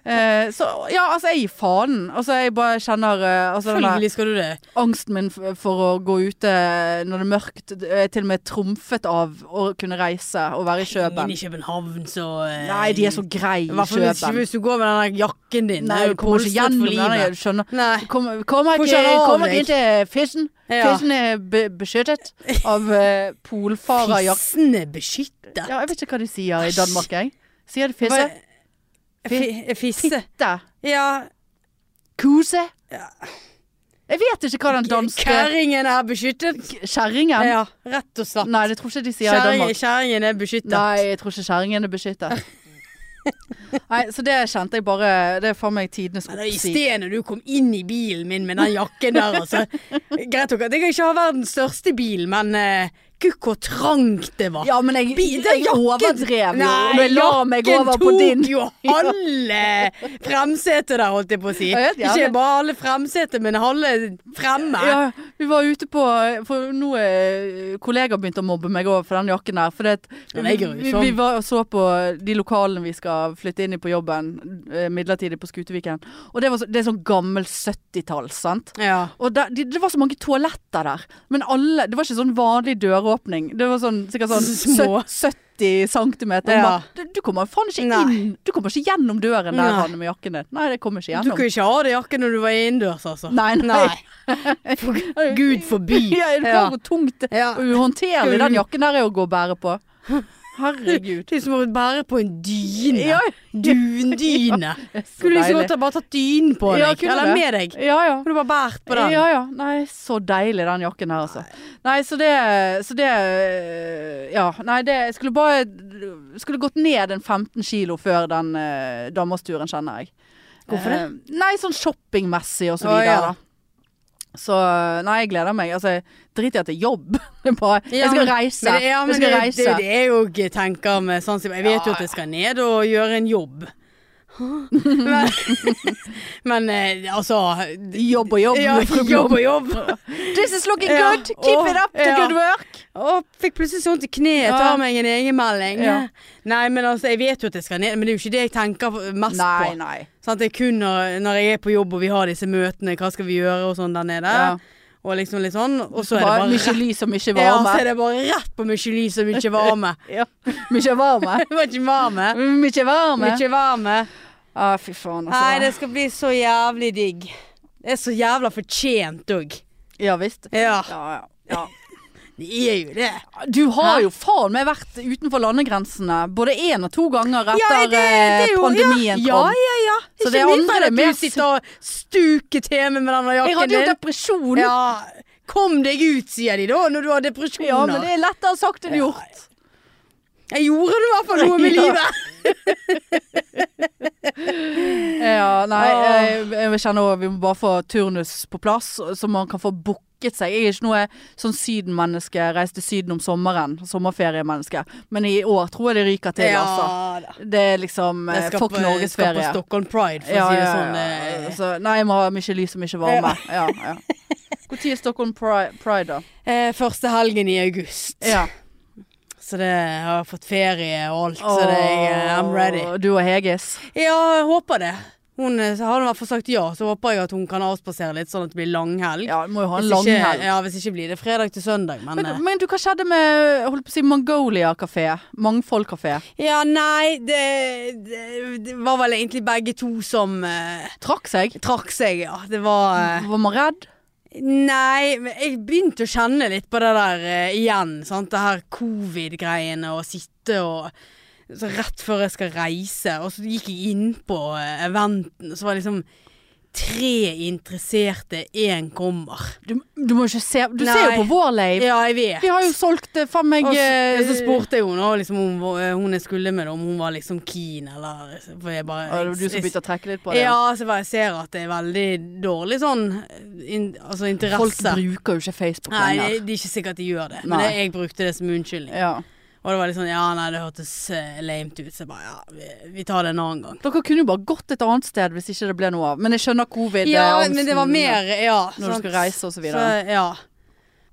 Eh, så ja, altså jeg gir faen. Altså jeg bare kjenner eh, altså, den der
Selvfølgelig skal du det.
angsten min f- for å gå ute når det er mørkt. eh, er Til og med trumfet av å kunne reise og være i
Ingen
Kjøben.
i København, så eh,
Nei, de er så
I
greie i
hvert fall hvis,
Kjøben.
hvis du går med den der jakken din.
Nei,
det er
du
jo
kommer ikke
polstret for
gjennom den.
livet.
Jeg skjønner.
Nei.
Kommer kom
Får
ikke,
ikke han av
kom
deg.
ikke inn til fisken.
Ja.
Fisken er be beskyttet
<laughs>
av uh, polfarerjakker.
Pissene beskyttet.
Ja, jeg vet ikke hva de sier i Danmark, jeg. Sier det fisse?
Fi- eh, Fisse.
Fitte?
Ja,
Kose?
Ja.
Jeg vet ikke hva den danske
kjerringen er beskyttet.
Kjerringen?
Ja, rett og slett.
Nei, det tror ikke de sier i
Kjerring-
Danmark.
Kjerringen er beskyttet.
Nei, jeg tror ikke kjerringen er beskyttet. <laughs> Nei, så det kjente jeg bare Det er faen meg tidenes
Men da, I
oppsi.
sted når du kom inn i bilen min med den jakken der, altså. Greit nok at jeg ikke har verdens største bil, men eh, gud hvor trangt det var.
Ja, men jeg,
Bi- det er
jeg overdrev jo.
Nei,
Når jeg la meg
jakken
over på din.
tok jo halve fremsetet der, holdt jeg på å si.
Jeg vet, ja,
Ikke
men-
bare halve fremsetet, men halve fremme.
Ja, vi var ute på For nå er kollegaer begynt å mobbe meg over for den jakken der. For det, at
Den er sånn. grusom.
vi, vi var og så på de lokalene vi skal flytte inn i på jobben, eh, midlertidig på Skuteviken. Og det, var så, det er sånn gammel 70-tall, sant.
Ja.
Og der, de, det var så mange toaletter der. Men alle Det var ikke sånn vanlig døråpning. Det var sånn, sikkert sånn
<laughs> Små.
sø- 70 cm.
Ja.
Du, du kommer faen ikke
Nei.
inn Du kommer ikke gjennom døren der
Nei.
han med jakken din. Nei, det kommer ikke
Du
gjennom.
kunne ikke ha det jakken når du var innendørs, altså.
Nei, nei.
For <laughs> Gud forby.
<laughs> Ja, er du klar over hvor tungt det
Ja.
og uhåndterlig den jakken der er å gå og bære på?
<laughs>
Herregud.
Det er som å bære på en dyne.
Ja,
Dundyne.
<laughs> så
<laughs> Skulle du så
deilig.
godt ha bare tatt dynen på deg?
Ja, kunne
eller
det.
med deg?
ja, ja.
Kunne du bare bært på den?
Ja, ja. Nei, så deilig den jakken her, altså. Nei, så det, så det Ja. Nei, det jeg skulle bare Skulle gått ned en 15 kilo før den eh, Danmarksturen, kjenner jeg.
Hvorfor det?
Eh, nei, sånn shoppingmessig og så
Å,
videre.
ja.
da. Så nei, jeg gleder meg. Altså, drit i at det er jobb. <laughs> Det er bare
Ja,
Jeg skal
men-
reise.
Men det, ja, men
jeg skal
det,
reise.
Det, det er jo jeg tenker med sånn som Jeg vet jo at jeg skal ned og gjøre en jobb. <laughs> Men, <laughs> men eh, altså
Jobb og jobb.
ja,
med fru Blom.
<laughs> jobb og jobb.
This is looking
Ja.
good. Keep
Åh,
it up to
ja.
good work.
Å, fikk plutselig så vondt i kneet.
Ja.
Ta meg en egenmelding.
Ja.
Nei, men altså, jeg vet jo at jeg skal ned, men det er jo ikke det jeg tenker mest
Nei,
på.
nei.
Sant? det er kun når, når jeg er på jobb og vi har disse møtene, hva skal vi gjøre og sånn der nede.
Ja.
Og liksom litt sånn. Og så er det
Bare
bare
mye lys og mye
<laughs> Ja, så
varme.
er det bare rett på mye lys og <laughs> mye varme.
Ja. <laughs> Mye varme.
<laughs> Det var ikke varme.
Mye varme.
Mye varme.
Å, fy faen, altså.
Nei, det skal bli så jævlig digg. Det er så jævla fortjent òg.
Ja visst.
Ja,
Ja, ja. ja.
det er jo det.
Du har jo faen meg vært utenfor landegrensene både én og to ganger
Ja,
etter
det- det er
eh,
jo-
pandemien
Ja,
kom.
ja, ja.
Så
Ikke
det
nytt
andre
for
er
at
mer
du sitter og stuker til meg med denne jakken din.
Jeg hadde jo depresjon. Ja,
Ja, kom deg ut, sier de da, når du har depresjoner.
men det er lettere sagt enn gjort.
Jeg gjorde det i hvert fall noe med
<laughs> Ja.
livet.
Ja, nei,
Åh.
jeg, jeg kjenner også, vi må bare få turnus på plass, så man kan få booket seg. Jeg er ikke noe sånn sydenmenneske, reis til syden om sommeren, sommerferiemenneske. Men i år tror jeg det ryker til, altså.
da.
Det er liksom
Jeg
eh,
skal
fuck
på- Skal på
norgesferie.
Stockholm Pride, for
Ja,
å si det
ja,
sånn.
ja, ja.
eh.
Så, nei, jeg må ha mye lys og mye varme. Ja, ja. Når er Stockholm Pride, Pride da?
Eh, første helgen i august.
Ja.
Så det jeg har fått ferie og alt, så det, jeg, eh, I'm ready.
Åh, Du og Hegis.
Ja, jeg håper det. Hun eh, så har hun i hvert fall sagt ja, så håper jeg at hun kan avspasere litt, sånn at det blir langhelg.
Ja, du må jo ha en
Hvis
lang
ikke-
helg.
Ja, hvis ikke blir det fredag til søndag, men, eh.
Men, men du, hva skjedde med holdt på å si, Mongolia kafé? Mangfold kafé?
eh, Ja, nei, det, det, det var vel egentlig begge to som eh,
Trakk seg?
trakk seg, ja. Det var eh,
Var man redd?
Nei, men jeg begynte å kjenne litt på det der eh, igjen. Sant? Det her covid-greiene og sitte og så Rett før jeg skal reise. Og så gikk jeg inn på eh, eventen, og så var det liksom tre interesserte, én kommer.
Du, du må jo ikke se Du ser
Nei.
jo på vår leiv.
Ja, jeg vet.
De har jo solgt eh, faen meg
og så,
eh,
så spurte jeg henne og liksom, om hva- hun jeg skulle med, om hun var liksom keen, eller For jeg
Å,
bare
det var Du som begynte å trekke litt på det?
Ja, så bare jeg ser at det er veldig dårlig sånn in, altså interesse.
Folk bruker jo ikke Facebook
Nei, det,
lenger.
det er ikke sikkert de gjør det. Men
Nei.
jeg, jeg brukte det som unnskyldning.
Ja.
Og det var litt sånn Ja, nei, det hørtes eh, lamet ut. Så jeg bare Ja, vi, vi tar det en annen gang.
Dere kunne jo bare gått et annet sted hvis ikke det ble noe av. Men jeg skjønner covid.
Ja,
eh,
men det var
angsten.
mer Ja.
Når du
sant.
skal reise og så
Så,
videre.
ja.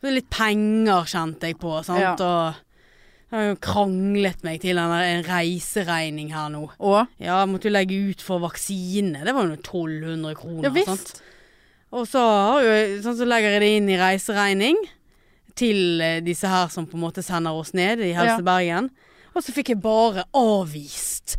Så litt penger kjente jeg på, sant.
Ja.
Og jeg har jo kranglet meg til en, en reiseregning her nå.
Og?
Ja, jeg måtte jo legge ut for vaksine. Det var jo noe 1200 kroner.
Ja
sant?
visst.
Og så, har jo, sånn, så legger jeg det inn i reiseregning til eh, disse her som på en måte sender oss ned i Helse
Ja.
Bergen. Og så fikk jeg bare avvist.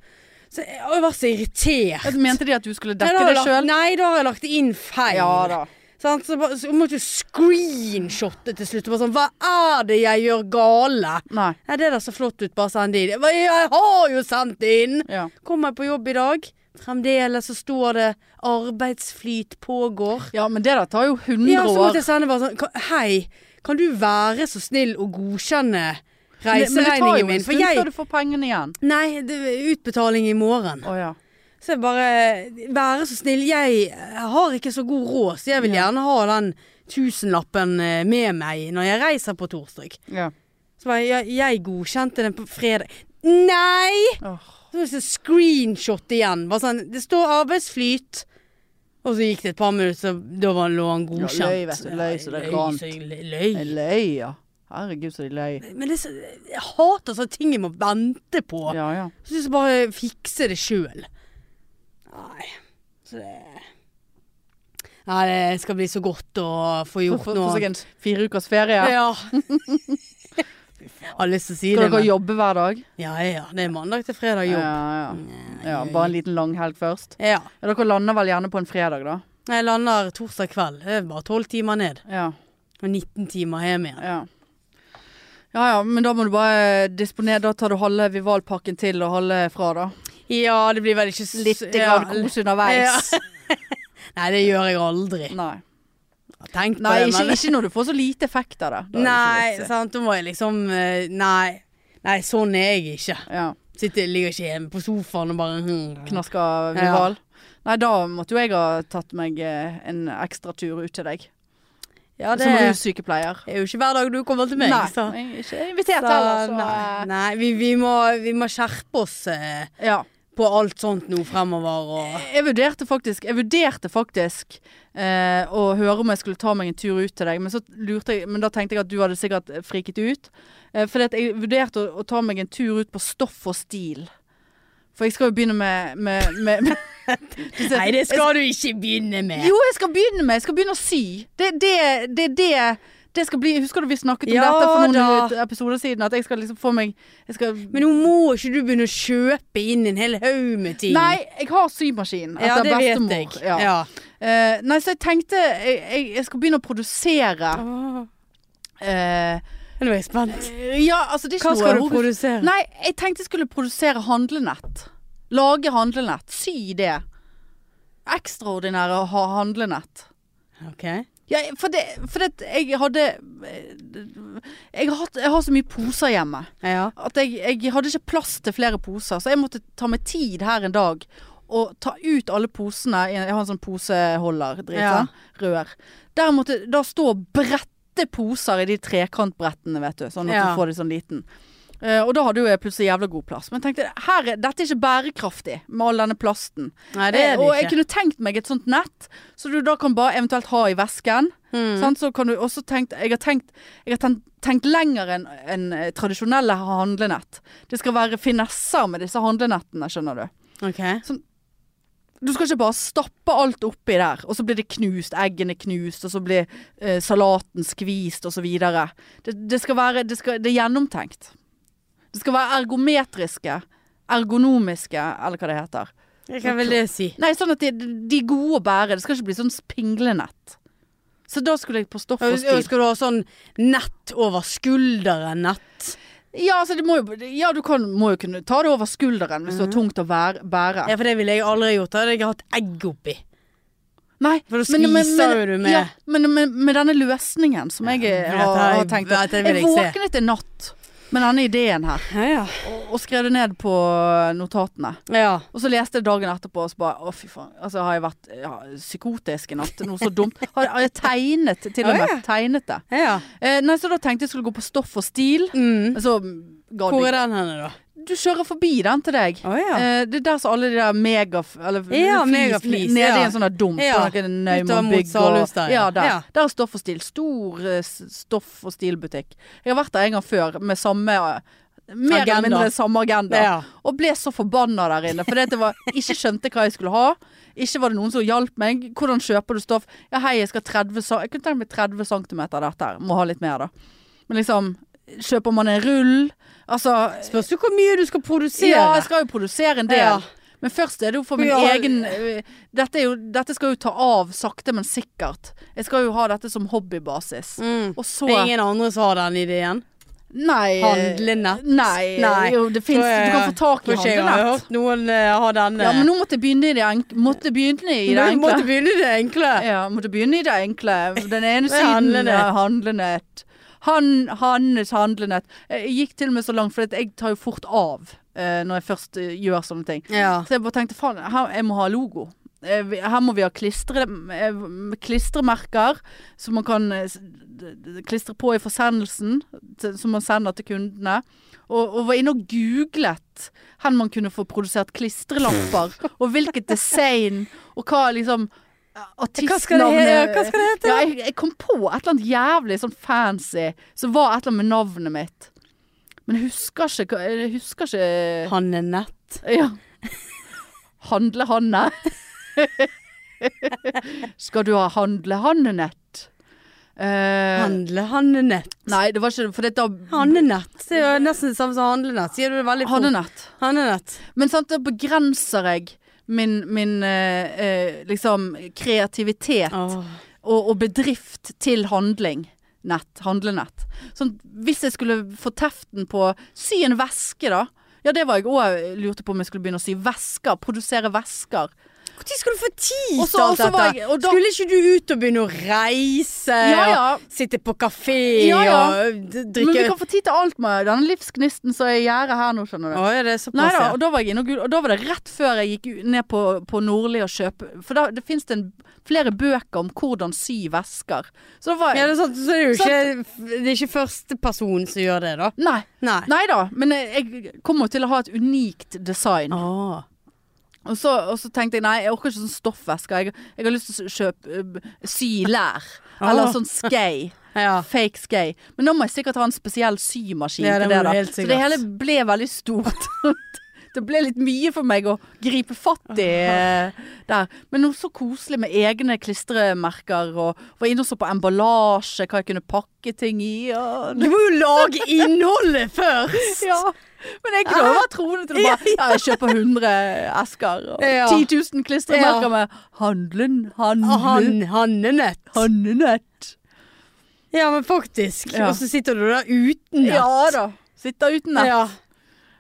Så jeg har jo vært så irritert.
Mente de at du skulle
Nei,
dekke
da har jeg
det
lagt-
sjøl?
Nei, da har jeg lagt det inn feil.
Ja da.
Sant? Så, bare, så måtte du screenshotte til slutt. Bare sånn, Hva er det jeg gjør gale?
Nei.
Nei, det der så flott ut, bare send det inn. Hva, Jeg har jo sendt det inn!
Ja.
Kommer jeg på jobb i dag? Fremdeles så står det 'arbeidsflyt pågår'.
ja, men det der tar jo 100
Ja, så måtte
år.
jeg sende bare sånn «Ka- Hei, kan du være så snill å godkjenne
Men- men det tar jo
reiseregningen
en
min? For
stund før
jeg
du får pengene igjen.
Nei, det er utbetaling i morgen.
Å ja.
Så jeg bare Være så snill. Jeg eh, har ikke så god råd, så jeg vil gjerne ha den tusenlappen eh, med meg når jeg reiser på torsdag.
ja.
Så bare Jeg, jeg godkjente den på fredag. Nei!
Åh.
Så var det sånn screenshot igjen. Bare sånn Det står arbeidsflyt. Og så gikk det et par minutter, så da var lå han godkjent.
Ja, løy, vet du, løy, så det
Løy,
rant.
så jeg løy.
Jeg løy, ja. Herregud, så de løy.
Men det, er så- jeg hater sånne ting jeg må vente på.
Ja, ja.
Så synes jeg bare fikse det sjøl. Nei. Så det Nei, det skal bli så godt å få
Få-
gjort
Få få
noe.
seg en fire ukers ferie.
Ja. Har lyst til å si
Skal
det,
dere
men
jobbe hver dag?
Ja ja. Det er mandag til fredag jobb.
Ja, ja. ja, bare en liten langhelg først.
Ja.
Ja, dere lander vel gjerne på en fredag, da?
Jeg lander torsdag kveld. Det er bare tolv timer ned.
Ja.
Og 19 timer hjem igjen.
Ja. ja ja, men da må du bare disponere. Da tar du halve Vivalparken til og halve fra, da.
Ja, det blir vel ikke s-
Litt
ja.
grann kos underveis. <laughs>
Nei, det gjør jeg aldri.
Nei,
Tenk på
Nei
det.
ikke,
men-
ikke når du får så lite effekt av det. Da er det ikke
<laughs> Nei,
vits i.
sant. Da må jeg liksom eh, Nei. Nei, sånn er jeg ikke.
Ja.
Sitter, ligger ikke hjemme på sofaen og bare hmm.
Knaska Vival. Nei, da måtte jo jeg ha tatt meg eh, en ekstra tur ut til deg.
Ja, det
Som
er
russykepleier.
jo ikke hver dag du kommer til meg.
Nei, altså.
så.
jeg er ikke
Så,
invitert heller, så
nei, nei vi, vi, må, vi må skjerpe oss eh,
eh, Ja.
på alt sånt nå fremover.
<laughs>
Og,
Jeg vurderte faktisk, jeg vurderte faktisk eh, å høre om jeg skulle ta meg en tur ut til deg, men, så lurte jeg, men da tenkte jeg at du hadde sikkert friket ut. Eh, for jeg vurderte å, å ta meg en tur ut på stoff og stil. For jeg skal jo begynne med, med, med, <laughs> med
nei, det skal du ikke begynne med.
Jo, jeg skal begynne med, jeg skal begynne å sy. Det er det, det, det, det skal bli Husker du vi snakket om
Ja
dette for noen
da.
episoder siden? At jeg skal liksom få meg jeg skal,
Men nå må ikke du begynne å kjøpe inn en hel haug med ting.
Nei, jeg har symaskin
ja,
etter
det
bestemor.
vet jeg.
Ja.
Ja.
Eh, nei, så jeg tenkte jeg, jeg, jeg skal begynne å produsere. Ah. Eh,
Nå er jeg spent.
ja, altså det er ikke
Hva skal du
noe
produsere?
Nei, jeg tenkte jeg skulle produsere handlenett. Lage handlenett. Sy det. Ekstraordinære ha handlenett.
Ok.
Ja, for det, for det jeg hadde eh, jeg har, hatt, jeg har så mye poser hjemme
Ja.
at jeg, jeg hadde ikke plass til flere poser. Så jeg måtte ta meg tid her en dag og ta ut alle posene. Jeg har en sånn poseholder, drit,
Ja.
sant? rør. Der måtte da stå og brette poser i de trekantbrettene, vet du. Sånn at
Ja.
du får de sånn liten. Eh, og da hadde jo jeg plutselig jævla god plass. Men jeg tenkte her, er- dette er ikke bærekraftig med all denne plasten.
Nei, det er
Eh, og
det
jeg
ikke.
kunne tenkt meg et sånt nett, så du da kan bare eventuelt ha i vesken.
Mm.
Sant? Så kan du også tenkt, jeg har tenkt, jeg har ten- tenkt lenger enn enn, eh, tradisjonelle handlenett. Det skal være finesser med disse handlenettene, skjønner du.
Ok.
Du skal ikke bare stappe alt oppi der, og så blir det knust, eggene knust, og så blir eh, salaten skvist, og så videre. Det, det skal være, det, skal, det er gjennomtenkt. Det skal være ergometriske, ergonomiske, eller hva det heter.
Hva vil det si?
Nei, sånn at de, de er gode å bære. Det skal ikke bli sånn spinglenett. Så da skulle jeg på stoff og stil.
Skal du ha sånn nett over skulderen-nett?
Ja, altså det må jo, ja du kan, må jo kunne ta det over skulderen hvis det er tungt å være, bære.
Ja, for det ville jeg aldri gjort. Da hadde jeg hatt egg oppi.
Nei,
For da skviser jo du med-
Ja, men men- med denne løsningen som jeg eh,
Ja,
har,
dette er-
har tenkt på.
dette vil
Jeg
jeg se.
våknet en natt med denne ideen her,
Ja, ja.
og, og skrev det ned på notatene.
Ja.
Og så leste jeg dagen etterpå og så bare Å, fy faen. Altså, har jeg vært ja, psykotisk i natt? Noe så dumt. Har, har jeg tegnet, til og
Ja,
med.
ja.
Tegnet det.
ja.
Eh, nei, så da tenkte jeg skulle gå på stoff og stil.
Mm.
Men så ga
Hvor
det
er den henne, da?
Du kjører forbi den til deg.
Å ja.
Eh, det er der som alle de der megaf... Eller
Ja,
flis-
megaflis,
Nede i
ja.
en sånn der dump.
Ja.
Og noen
Utover mot
Naumann-bygg
Salhus
og
der,
Ja,
ja.
der.
Ja.
Der er Stoff og Stil. Stor eh, s- stoff- og stilbutikk. Jeg har vært der en gang før med samme eh, Mer
Agenda.
eller mindre samme agenda.
Ja.
Og ble så forbanna der inne. For det var, ikke skjønte hva jeg skulle ha. Ikke var det noen som hjalp meg. Hvordan kjøper du stoff? Ja, hei, jeg skal 30 cm. Jeg kunne tenkt meg 30 cm dette her. Må ha litt mer, da. Men liksom Kjøper man en rull? Altså
Spørs jo hvor mye du skal produsere.
ja, jeg skal jo produsere en del.
Ja.
Men Men først er det jo for min
Ja.
egen øh, dette, er jo, dette skal jo ta av sakte, men sikkert. Jeg skal jo ha dette som hobbybasis.
Mm.
Og så
Det er ingen andre som har den ideen?
Nei.
Handlenett?
Nei,
Nei.
Eh, jo, det fins Du kan få tak i
Tror ikke jeg har
handlenett.
hørt noen eh, ha denne.
Ja, men nå måtte jeg begynne i det enkle. Måtte begynne i det
Du måtte
enkle.
begynne i det enkle.
<laughs> Ja, måtte begynne i det enkle. Den ene
Det er
siden
handlenett.
er handlenett. Han, hans handlenett. Jeg gikk til og med så langt, for at jeg tar jo fort av eh, når jeg først eh, gjør sånne ting.
Ja.
Så jeg bare tenkte faen, her, jeg må ha logo. Eh, vi- Her må vi ha klistre, eh, klistremerker som man kan eh, s- d- d- klistre på i forsendelsen, til- som man sender til kundene. Og, og var inne og googlet hvor man kunne få produsert klistrelapper,
<laughs>
og hvilket design, og hva liksom eh,
Hva skal det,
Artistnavnet
he- hva skal det hete?
ja, jeg, jeg kom på et eller annet jævlig sånn fancy som var et eller annet med navnet mitt. Men jeg husker ikke, hva- jeg husker ikke
Hannenett.
ja. Handlehanne. Skal du ha handlehandlenett? Eh,
Handlehannenett.
nei, det var ikke det, for det da
Hannenett. Det er jo nesten det samme som handlenett. Sier du det veldig fort?
Handlenett.
Hannenett.
Men sant, da begrenser jeg min, min eh, eh, liksom kreativitet
Åh.
og, og bedrift til handling. Nett, handlenett. Sånn, hvis jeg skulle få teften på sy en veske, da. Ja, det var jeg òg lurte på om jeg skulle begynne å sy vesker. Produsere vesker.
Når skal du få tid
Og så-
til
og
alt
så
dette?
var jeg- og da-
Skulle ikke du ut og begynne å reise?
Ja, ja.
Og sitte på kafé
Ja, ja.
og eh, d-
Men vi
drikke
kan få tid til alt med denne livsgnisten som er i gjerdet her nå, skjønner du.
Å, altså. ja, det er såpass,
Neida,
ja.
og da var jeg inne og gul, og da var det rett før jeg gikk u- ned på, på Nordli og kjøpe For da, det finnes det en, flere bøker om hvordan sy vesker. Så da var jeg
Ja, det er sant, så er det jo ikke Det er ikke første person som gjør det, da.
Nei.
Nei.
Nei da, men jeg jeg kommer jo til å ha et unikt design.
Åh.
Og så, og så tenkte jeg nei, jeg orker ikke sånn stoffvesker. Jeg, jeg har lyst til å kjøpe øh, sy lær. Eller
Åh.
sånn skei.
Ja.
Fake skei. Men nå må jeg sikkert ha en spesiell symaskin
Ja, det
til det.
må du
da
helt
Så det
sikkert.
hele ble veldig stort. <laughs> det ble litt mye for meg å gripe fatt
<laughs>
i eh, der. Men noe så koselig med egne klistremerker, og var inne og så på emballasje, hva jeg kunne pakke ting i. Og
Du må jo lage innholdet først!
<laughs> ja. Men jeg kunne være troende
<laughs>
til å bare Ja, jeg kjøper 100 esker og
Ja.
10 000 klistremerker
Ja.
med handelen,
Ah,
handelen,
Han, Hannenett.
handlenett.
Ja, men faktisk.
Ja.
Og så sitter du der uten nett.
Ja da. Sitter uten nett.
Ja.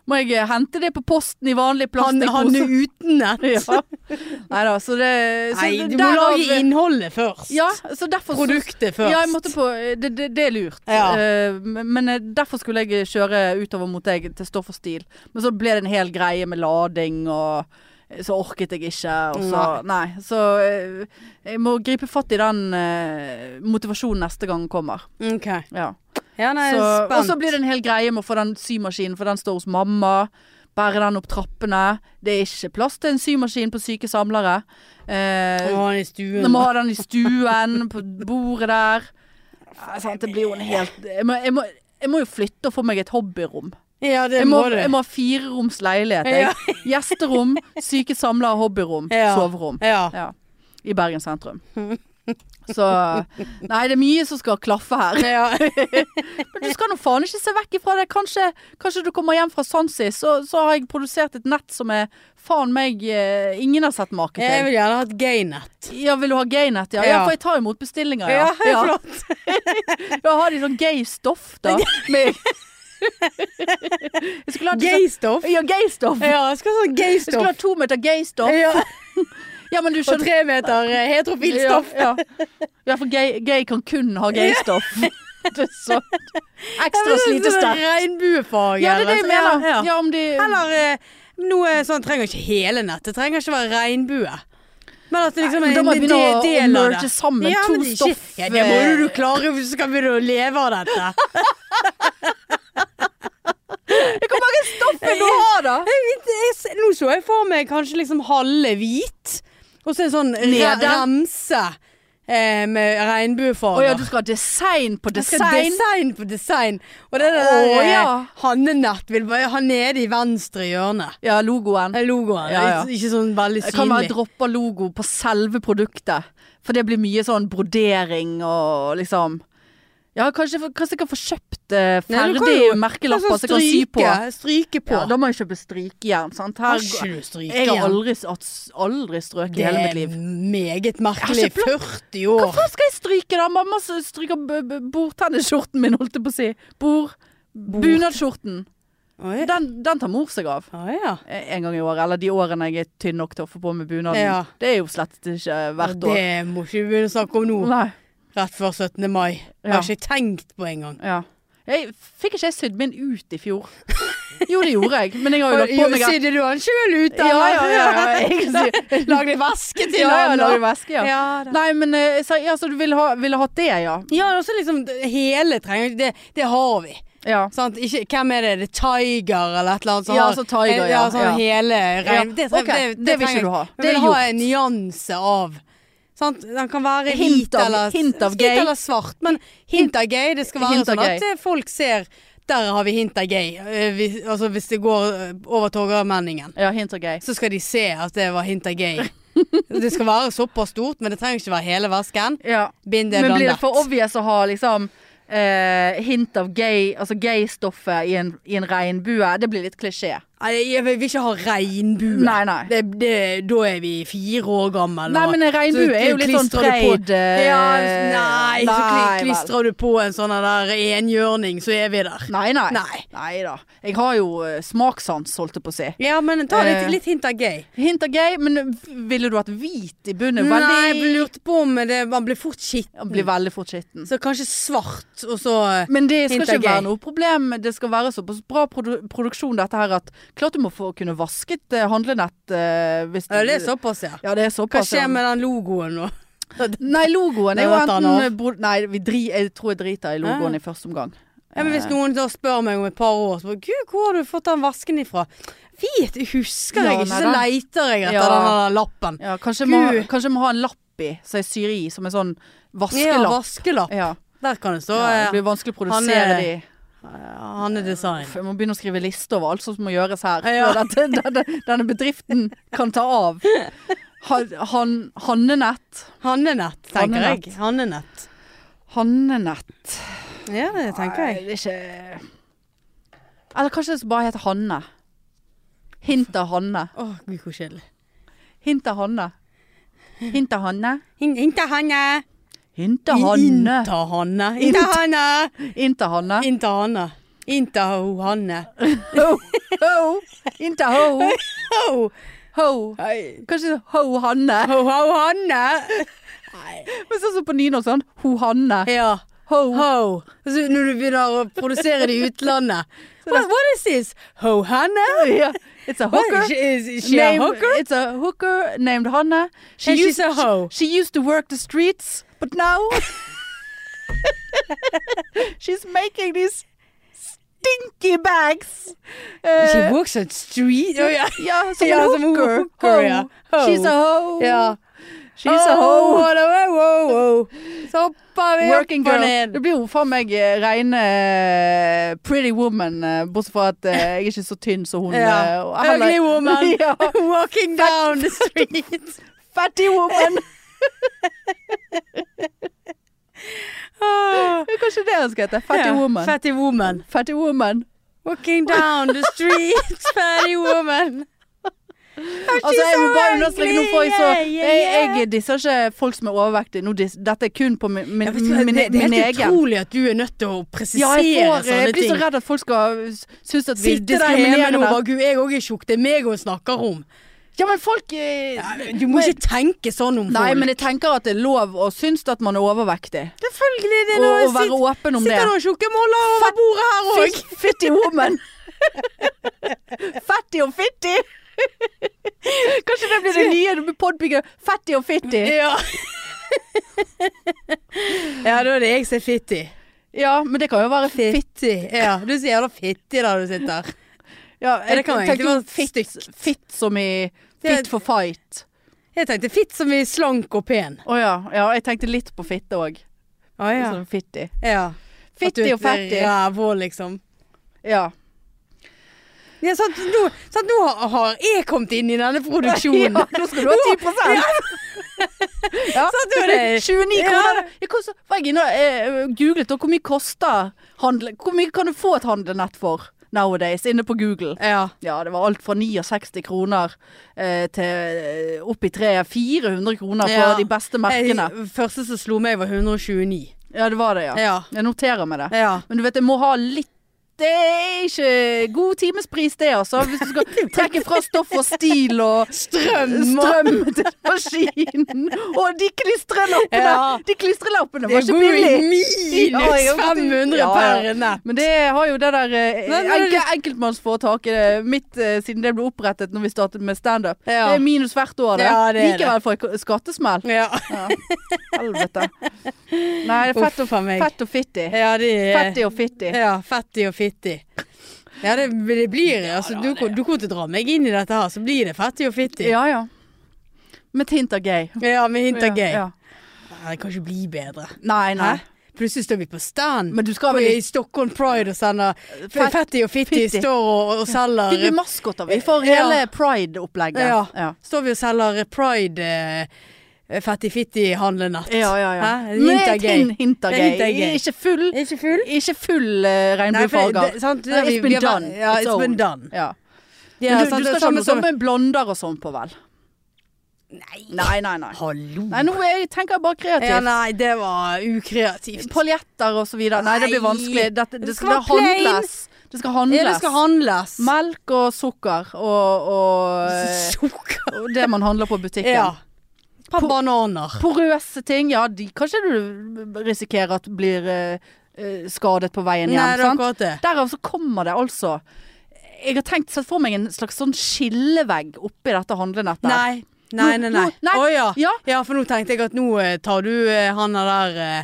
Må jeg eh, hente det på posten i vanlig
Han, han
plastikkpose?
er uten nett.
<laughs> Ja. Nei da, så det så
Nei,
det-
du må
derav-
lage innholdet først.
Ja, så derfor så-
Produktet først.
Ja, jeg måtte på eh, Det, det, det er lurt.
Ja.
Eh, men men, eh, derfor skulle jeg kjøre utover mot deg til Stoff og stil. Men så ble det en hel greie med lading og eh, så orket jeg ikke, og så Nei. Så eh, jeg må gripe fatt i den eh, motivasjonen neste gang kommer.
Ok.
Ja.
Ja, nei, jeg
Så,
er
og så
spent.
blir det en hel greie med å få den symaskinen, for den står hos mamma. Bære den opp trappene. Det er ikke plass til en symaskin på syke samlere. Eh,
Må ha den i stuen.
jeg må ha den i stuen, på bordet der. Ja, sant, det blir jo en helt jeg må, jeg, må, jeg må jo flytte og få meg et hobbyrom.
Ja, det
Jeg må,
må du.
jeg må ha fireroms leilighet. Jeg. <laughs> Gjesterom, syke samlere, hobbyrom,
Ja.
soverom.
Ja.
Ja. I Bergen sentrum. Så Nei, det er mye som skal klaffe her.
ja.
Men du skal nå faen ikke se vekk ifra det. Kanskje, kanskje du kommer hjem fra Sansi, så, så har jeg produsert et nett som er faen meg eh, ingen har sett maken
<laughs> Jeg
til.
vil gjerne ha et gaynett.
Ja, vil du ha gaynett? Ja. ja,
Ja.
for jeg tar imot bestillinger, ja.
Ja,
<laughs> ja.
flott.
ja har de sånn gay stoff,
<laughs>
da? Med... jeg skulle hatt sånn-
Gaystoff.
Ja, gay stoff. Jeg
Ja, jeg skal ha sånn
skulle
gaystoff.
ha to meter gay stoff.
Ja.
Ja, men du
Eh, Og
skjønner
tre meter eh, heterofilt stoff.
Ja, ja. ja for gay, gay kan kun ha gay
<laughs>
stoff. Det er så ekstra
sånn
slitesterkt.
Regnbuefarge.
Ja, det er det jeg
eller-
mener.
altså. Ja, ja.
Ja, om de...
Eller eh, noe sånn trenger ikke hele nettet. Det trenger ikke være regnbue. Men at det liksom
Nei, men da må jeg
en
begynne
de-
å-
del
å
av
merge
det.
sammen
ja,
to
men det er ikke-
stoff,
Ja, det må
eh.
du jo klare hvis du skal begynne å leve av dette. <laughs>
Hvor mange stoff vil du ha, da?
Jeg vet- jeg s- Nå så jeg for meg kanskje liksom halve hvit, og så en sånn re-
Nede.
remse eh, med regnbuefarger.
Å ja, du skal ha design på
Jeg skal
design.
design på design. Og det der
Å,
eh,
ja.
Hannenett vil bare ha nede i venstre hjørne.
Ja, logoen.
Eh, Logoen.
Ja, ja.
Ikke- Ikke sånn veldig
Det kan være
synlig.
dropper logo på selve produktet. For det blir mye sånn brodering og liksom Ja, kanskje, kanskje jeg kan få kjøpt eh,
Nei, du
ferdig
kan jo-
merkelapper som jeg kan sy på.
Altså, Stryke på.
Altså, Ja, da må jeg kjøpe strykejern. Sant? Her,
har ikke du stryke
jeg har
igjen.
aldri, s- aldri strøket i
Det
hele
er
mitt liv.
meget
Jeg
merkelig.
har
40
Hva
år.
faen skal jeg stryke da? Mamma s- stryker b- b- bordtennisskjorten min, holdt jeg på å si. Bord... Bunadsskjorten.
Å
Den, den tar mor seg av.
ja.
Eh, En gang i året. Eller de årene jeg er tynn nok til å få på meg bunaden.
Ja.
Det er jo slett ikke eh, hvert år.
Det må ikke vi begynne å snakke om nå,
Nei.
rett før 17. mai. Jeg
Ja.
har ikke tenkt på engang.
Ja. Jeg fikk ikke jeg sydd min ut i fjor? Jo, det gjorde jeg. Men jeg har jo lagt på meg
Sidde du han sjøl ut,
Ja, ja, ja,
<laughs>
ja. Jeg
Jeg Lag litt væske til
ja, ja,
han.
lager
og-
væske, ja.
Ja, da.
Nei, men eh, så, ja, så du ville ha, ville hatt det, ja.
ja, og så liksom det- hele trenger Det, det har vi.
Ja.
Sant? Ikke, hvem er det? The Tiger eller et eller annet? som
Ja,
har-
altså Tiger,
eh,
ja,
sånn
ja.
hele regn...
Ja,
Det, tre-
ok, det vil ikke
trenger-
du ha.
Jeg
Det er
vil ha en nyanse av Sant? Den kan være
Hint
hvit
av-
eller,
hint av gay.
Hvit eller svart, men hint av gay. Det skal være
Hint av
sånn
gay.
at eh, folk ser der har vi hint av gay. Eh, Hvis, altså hvis det går eh, over Torgallmenningen,
Ja, hint og gøy.
så skal de se at det var hint av gay. det skal være såpass stort, men det trenger ikke være hele vasken.
Ja.
Bind det
Men blir det
blandet.
for obvious å ha liksom eh, hint av gay, altså gay-stoffet i en, i en regnbue? Det blir litt klisjé.
Nei, Jeg vil ikke ha regnbue.
Nei, nei.
Det, det, da er vi fire år gamle.
Nei, men en regnbue er jo litt sånn
treid
treid eh,
ja, Nei, så kli-
vel.
klistrer du på en sånn der enhjørning, så er vi der.
Nei, nei.
Nei.
da. Jeg har jo eh, smakssans, holdt jeg på å si.
Ja, men ta litt,
Eh.
litt hint av gay.
Hint av gay, men ville du hatt hvit i bunnen?
Nei,
Veldig,
jeg lurte på om det Man blir fort skitten.
Blir veldig fort skitten.
Så kanskje svart, og så eh,
Men det skal
Hint
ikke
er gøy.
være noe problem. Det skal være såpass bra produ produksjon dette her at klart du må få kunne vasket eh, handlenett eh, hvis du
Ja, det er såpass, ja.
Ja, det er
Hva
såpass.
skjer
ja.
med den logoen nå?
Nei, logoen er
Den
jo
vet han
enten bro- Nei, vi dri, jeg tror jeg driter i logoen
Ja.
i første omgang.
Ja, men
Eh.
Hvis noen da spør meg om et par år så bare, Gud, hvor har du fått den vasken ifra? Vet,
Ja,
husker jeg ikke,
nei
så
da.
leiter jeg etter
Ja.
den der lappen.
Ja, kanskje må,
Gud.
kanskje må ha en lapp i, som jeg syr i, som en sånn
Ja,
vaskelapp.
vaskelapp.
Ja,
Der kan det stå.
ja, det
eh,
blir vanskelig å
Han
produsere
er-
de.
Han er design.
Jeg må begynne å skrive liste over alt som må gjøres her.
Ja.
Før dette, denne, denne bedriften kan ta av. Han, han, Hannenett.
Hannenett, tenker
Hannenett.
jeg. Hannenett.
Hannenett.
Ja, det tenker jeg.
Nei, det er ikke Eller kanskje det bare heter Hanne. Hint av Hanne.
Å, gud, hvor kjedelig.
Hint av Hanne. Hint av Hanne.
Hin- Innta Hanne.
Hint av Hanne.
Innta Hanne. Innta Hanne.
Hint av Hanne.
Innta Hanne. Innta ho Hanne.
Ho, ho. Hint av ho.
Ho!
Ho.
Hei.
Kanskje ho Hanne.
Ho, ho, Hanne.
Men sånn som på nynorsk sånn. Ho Hanne.
Ja.
Ho.
Ho. Så når du begynner å produsere det i utlandet.
Sånn
What, what is this? Ho Hanne?
Yeah. It's a
What,
hooker.
is, is, is she a
named,
hooker?
It's a hooker named Hanna. She
And
used,
she's a hoe.
She, used to work the streets, but now <laughs> she's making these stinky bags. Uh,
She walks on street?
Oh,
Å ja.
yeah, som
Ja,
en
som en
hooker.
hooker, ja. Hoe.
She's a hoe. Oh.
Ja.
She's
Oh,
a hoe.
Så hopper vi
Working
opp og
girl.
ned.
Det blir jo faen meg eh, rene eh, pretty woman, eh, bortsett fra at eh, jeg er ikke så tynn <laughs> som hun. eh, og heller-
Ugly woman
<laughs> ja.
<laughs> walking down
<laughs>
the street.
Fatty woman.
Ah.
<laughs> Det er kanskje det han skal hete. Ah. Fatty
Ja,
woman.
Fatty woman.
Fatty woman.
Walking down the
<laughs>
street, fatty woman.
Altså, jeg må bare understreke, nå får jeg så
Yeah, yeah,
Jeg,
yeah.
jeg disser ikke folk som er overvektige. Nå dis, dette er kun på min, min,
Jeg vet ikke,
min,
det, det er
min
helt
egen.
utrolig at du er nødt til å
Ja,
presisere
jeg, får, eh, jeg
sånne
blir så
ting.
redd at folk skal synes at vi
Sitte der hjemme nå og
diskriminerer.
bare Gud, jeg òg er tjukk. Det er meg hun snakker om.
Ja, men folk eh,
Du må ikke tenke sånn om
Nei,
folk.
men jeg tenker at det er lov å synes at man er overvektig.
selvfølgelig det
Og, og være åpen om det.
Sitter noen tjukke måler over bordet her òg.
Fit- Fitty woman. Fatty og fitty. Kanskje det blir det nye podbygget. Fatty og fitty.
<laughs> Ja. <laughs> ja, da er det jeg som er fitti.
Ja, men det kan jo være fitt.
Fitti. Ja, du sier da fitti der du sitter.
Ja, jeg
det kan jo
tenkte
egentlig
jo
være
fitt, fitt som i
Det-
Fit for fight.
Jeg tenkte fitt som i slank og pen.
Å ja. ja. Jeg tenkte litt på fitte òg.
Å ja.
Sånn fitti.
ja. At du
Fitti
er
og fatty.
Rævhål, liksom.
Ja.
Ja, sant, nå, <laughs>
<laughs>
sant, nå har- har jeg kommet inn i denne produksjonen.
Ja, nå skal du ha 10
<laughs> Ja.
Ja.
Sant, det var det.
29
Ja.
kroner. Jeg kom så, var jeg inne og eh, googlet og hvor mye koster handle... Hvor mye kan du få et handlenett for nowadays inne på Google?
Ja.
Ja, det var alt fra 69 kroner eh, til eh, opp i treet 400 kroner for
Ja.
de beste merkene.
Jeg, første som slo meg, var 129.
Ja, det var det, ja.
Ja.
Jeg noterer meg det.
ja.
Men du vet, jeg må ha litt Det er ikke god timespris, det, altså. Hvis du
<laughs>
skal trekke fra stoff og stil og
Strøm og-
strøm til maskinen. Og de klistrelappene!
Ja.
De klistrelappene
Det
var ikke
går jo i
billig. Ja,
minus
jeg har gått i-
500
Ja, ja.
per nett.
Men det har jo det der eh,
Nei, men det er
enkel, enkeltmannsforetaket eh, mitt, eh, siden det ble opprettet når vi startet med standup.
Ja.
Det er minus hvert år, det.
Ja, det er det.
Likevel får jeg ko- skattesmell.
Ja.
Ja. Helvete. Nei, det er fett,
Uff a meg.
fett og fitti.
Ja, de er
Fetti og fitti.
Ja, fattig og fittig. Ja, det, det blir altså, du, kom- du kommer til å dra meg inn i dette her, så blir det fattig og fittig.
Ja, ja. Med tint av gay.
Ja, med hint av gøy.
Ja.
Nei, Det kan ikke bli bedre.
Nei, nei.
Hæ? Plutselig står vi på stand
Men du skal
på,
vel
i Stockholm Pride og sender
Fett-
Fattig og Fitti
Fitti.
står og, og
Fikk vi
selger
maskoter, vi, for
Ja.
hele pride-opplegget.
Ja.
ja.
Står vi og selger Pride eh, Fattig Fitti handlenatt.
Ja, ja, ja.
Hæ? Hint av gay.
Med hint av gay.
Hint av gay.
Ikke full,
Er ikke full?
ikke full eh,
Nei, for det-
regnbuefarger.
det- sant,
Nei,
vi-
it's been
vi har-
done.
Ja,
It's
it's been
old.
done.
Ja.
Ja,
Men du, du
sant, det er
skal ikke ha
samme
noe sånn med blonder og sånn på, vel? Nei, nei, nei.
Hallo.
Nei, nå er, tenker jeg bare kreativt.
Ja, nei, det var ukreativt.
Paljetter og så videre. Nei, det blir
Nei.
vanskelig. Dette, det, skal
Det skal
det
være plain.
handles. Det skal handles.
Ja, det skal handles.
Melk og sukker og,
<laughs>
og, eh,
Sukker.
og det man handler på butikken.
Ja. Et par
På-
bananer.
Porøse ting, ja. De, kanskje du risikerer at blir eh, eh, skadet på veien hjem.
Nei, det er
sant?
akkurat det.
Derav så kommer det altså Jeg har tenkt sett for meg en slags sånn skillevegg oppi dette handlenettet.
Nei. Nei, nei, nei.
Nå- nei.
Å ja.
Ja.
<laughs> ja, for nå tenkte jeg at nå eh, tar du eh, han der eh,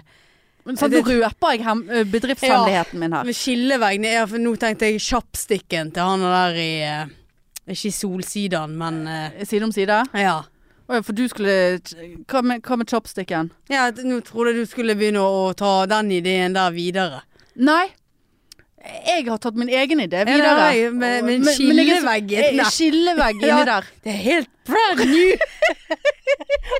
Men sånn,
det-
nå røper jeg hem, eh, bedriftshemmeligheten min her.
med skilleveggen. Ja, for nå tenkte jeg kjappstikken til han der i eh, Ikke i Solsidan, men eh,
Side om side.
ja.
Å ja, for du skulle Hva med, hva med chopsticken?
ja. t- Nå trodde jeg du skulle begynne å ta den ideen der videre.
Nei. Jeg har tatt min egen idé
nei,
videre.
nei, men- men
Og- jeg er så-
skillevegg i
eh,
den.
Skillevegg inni
<laughs> Ja.
der.
Det er helt brand new! <laughs>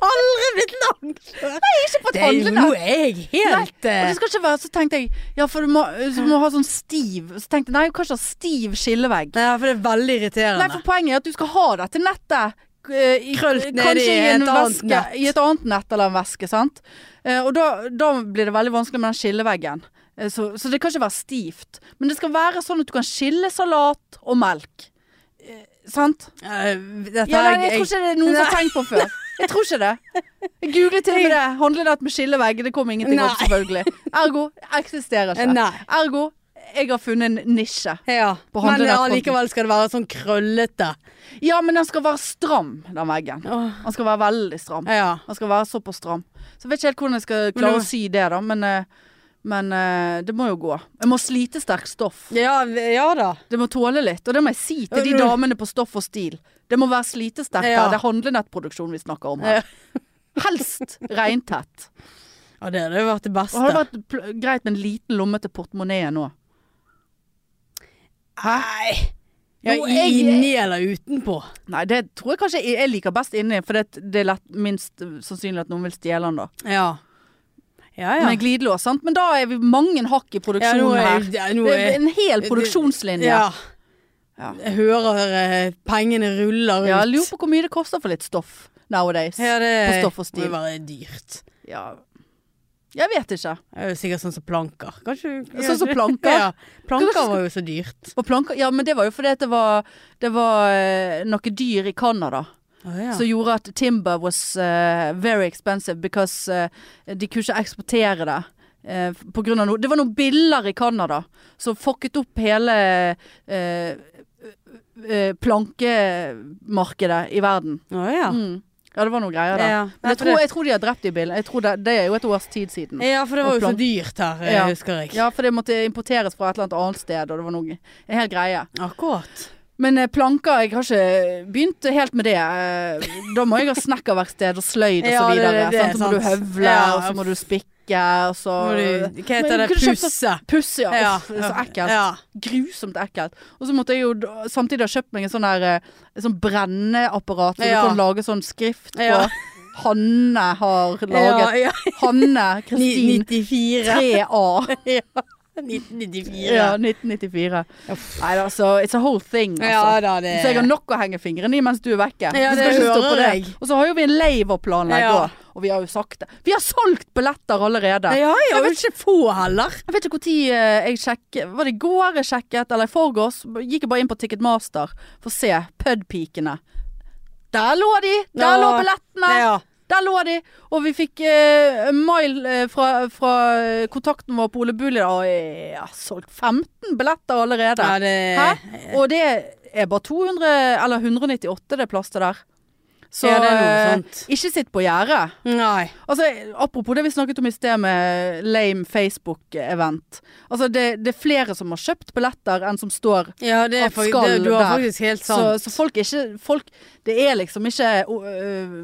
Aldri blitt lagd før!
Ikke på et
Det er jo
handlenett.
nå er jeg helt
Nei, og det
eh,
skal ikke være, så tenkte jeg Ja, for du må, så må du ha sånn stiv Så tenkte jeg, nei, du kan ikke ha stiv skillevegg
Nei, for det er veldig irriterende.
Nei, for poenget er at du skal ha dette nettet eh, i,
Krølt ned
kanskje
i
en
et annet
veske,
nett.
I et annet nett eller en veske, sant? Eh, og da, da blir det veldig vanskelig med den skilleveggen Eh, så, så det kan ikke være stivt Men det skal være sånn at du kan skille salat og melk Eh, Sant?
Eh, dette
Ja,
er-
nei, jeg tror ikke det er noen som har tenkt på før. Jeg tror ikke det. Jeg googlet til og med det. Handlenett med skillevegg. Det kom ingenting opp,
Nei.
selvfølgelig. Ergo eksisterer ikke.
Nei.
Ergo jeg har funnet en nisje.
Ja,
På
men
handlenettet.
allikevel skal det være sånn krøllete.
Ja, men den skal være stram, den veggen.
Åh.
Den skal være veldig stram.
Ja.
Den skal være såpass stram. Så jeg vet ikke helt hvordan jeg skal
Men du-
klare å sy det, da. Men, eh, men eh, det må jo gå. Jeg må slite sterkt stoff.
Ja, da.
Det må tåle litt. Og det må jeg si til de
Ja, du-
damene på Stoff og Stil. Det må være slitesterkt. her.
Ja.
Det er handlenettproduksjon vi snakker om her. <laughs> Helst
<laughs>
regntett.
Og det hadde jo vært det
Og Har det
beste.
vært pl- greit med en liten lomme til portemoneen nå?
Nei. Ja,
Jo, jeg-
inni eller utenpå.
Nei, det tror jeg kanskje jeg jeg liker best inni, for det, det er lett, minst øh, sannsynlig at noen vil stjele den da.
Ja. Ja, ja.
Med glidelås, sant? Men da er vi mange hakk i
ja
produksjonen her.
ja, nå
Det er
er-
en hel
det-
produksjonslinje.
ja.
Ja.
Jeg hører eh, pengene ruller ut.
Ja, jeg lurer på hvor mye det koster for litt stoff nowadays.
Ja, det
på stoff og stil.
må jo være dyrt.
Ja. Jeg vet ikke.
Det er jo sikkert sånn som planker. Kanskje,
Sånn som planker?
Ja. Planker
Kanskje-
var jo så dyrt.
Og planker, ja, men det var jo fordi at det var, det var øh, noe dyr i Kanada.
ja.
Som gjorde at timber was eh, very expensive because eh, de kunne ikke eksportere det. eh, på grunn av noe. Det var noen biller i Canada som fucket opp hele eh, eh, plankemarkedet i verden.
Å, ja.
Mm. Ja, det var noen greier der.
Ja.
Men jeg tror, jeg tror de har drept de billene. Jeg tror det, det er jo et års tid siden.
ja, for det var jo så
plank-
dyrt her, eh,
Ja.
husker jeg.
Ja, for det måtte importeres fra et eller annet annet sted, og det var noe, en hel greie.
Akkurat.
Men eh, planker, jeg har ikke begynt helt med det. Eh, Da må jeg ha snekkerverksted og sløyd og
Ja,
så
det-
videre.
det er
sant? Så må du
sant.
høvle,
Ja.
og så må du spikke, og så
Må du- Hva
Men
heter det?
kunne kjøpt oss-
Pusse.
Pusse, ja.
Ja.
Uff, det er så ekkelt.
Ja.
Grusomt ekkelt. Og så måtte jeg jo d- samtidig ha kjøpt meg en sånn der eh, sånn brenneapparat som
Ja.
du kan lage sånn skrift på.
Ja.
Hanne har laget.
Ja, ja.
Hanne Kristin
94.
3A.
Ja, <laughs> 1994.
Ja, 1994. Nei da, så it's a whole thing, altså.
Ja da, det
Så jeg har nok å henge fingrene i mens du er vekke. Du skal
Ja, det
ikke stå på
hører
det.
jeg.
Og så har jo vi en laverplanlegg
Ja.
òg. Og vi har jo sagt det. Vi har solgt billetter allerede.
Ja, jeg har jo ikke få heller.
Jeg vet ikke når jeg sjekket Var det i går jeg sjekket, eller i forgårs? Gikk jeg bare inn på Ticketmaster for å se Pudpikene. Der lå de! Der
Ja.
lå billettene!
Ja.
Der lå de! Og vi fikk eh, mail eh, fra, fra kontakten vår på Ole Bull i dag, og jeg har solgt 15 billetter allerede.
Ja, det,
Hæ?
Eh,
Og det er bare 200, eller 198 det er plass til der. Så
Ja, det er noe
eh,
sånt.
ikke sitt på gjerdet.
Nei.
Altså, apropos det vi snakket om i sted med lame Facebook-event. Altså, det, det er flere som har kjøpt billetter enn som står.
Ja, det er
At
faktisk,
skal
det, du har
der.
faktisk helt
Så,
sant.
så folk er ikke folk, Det er liksom ikke øh,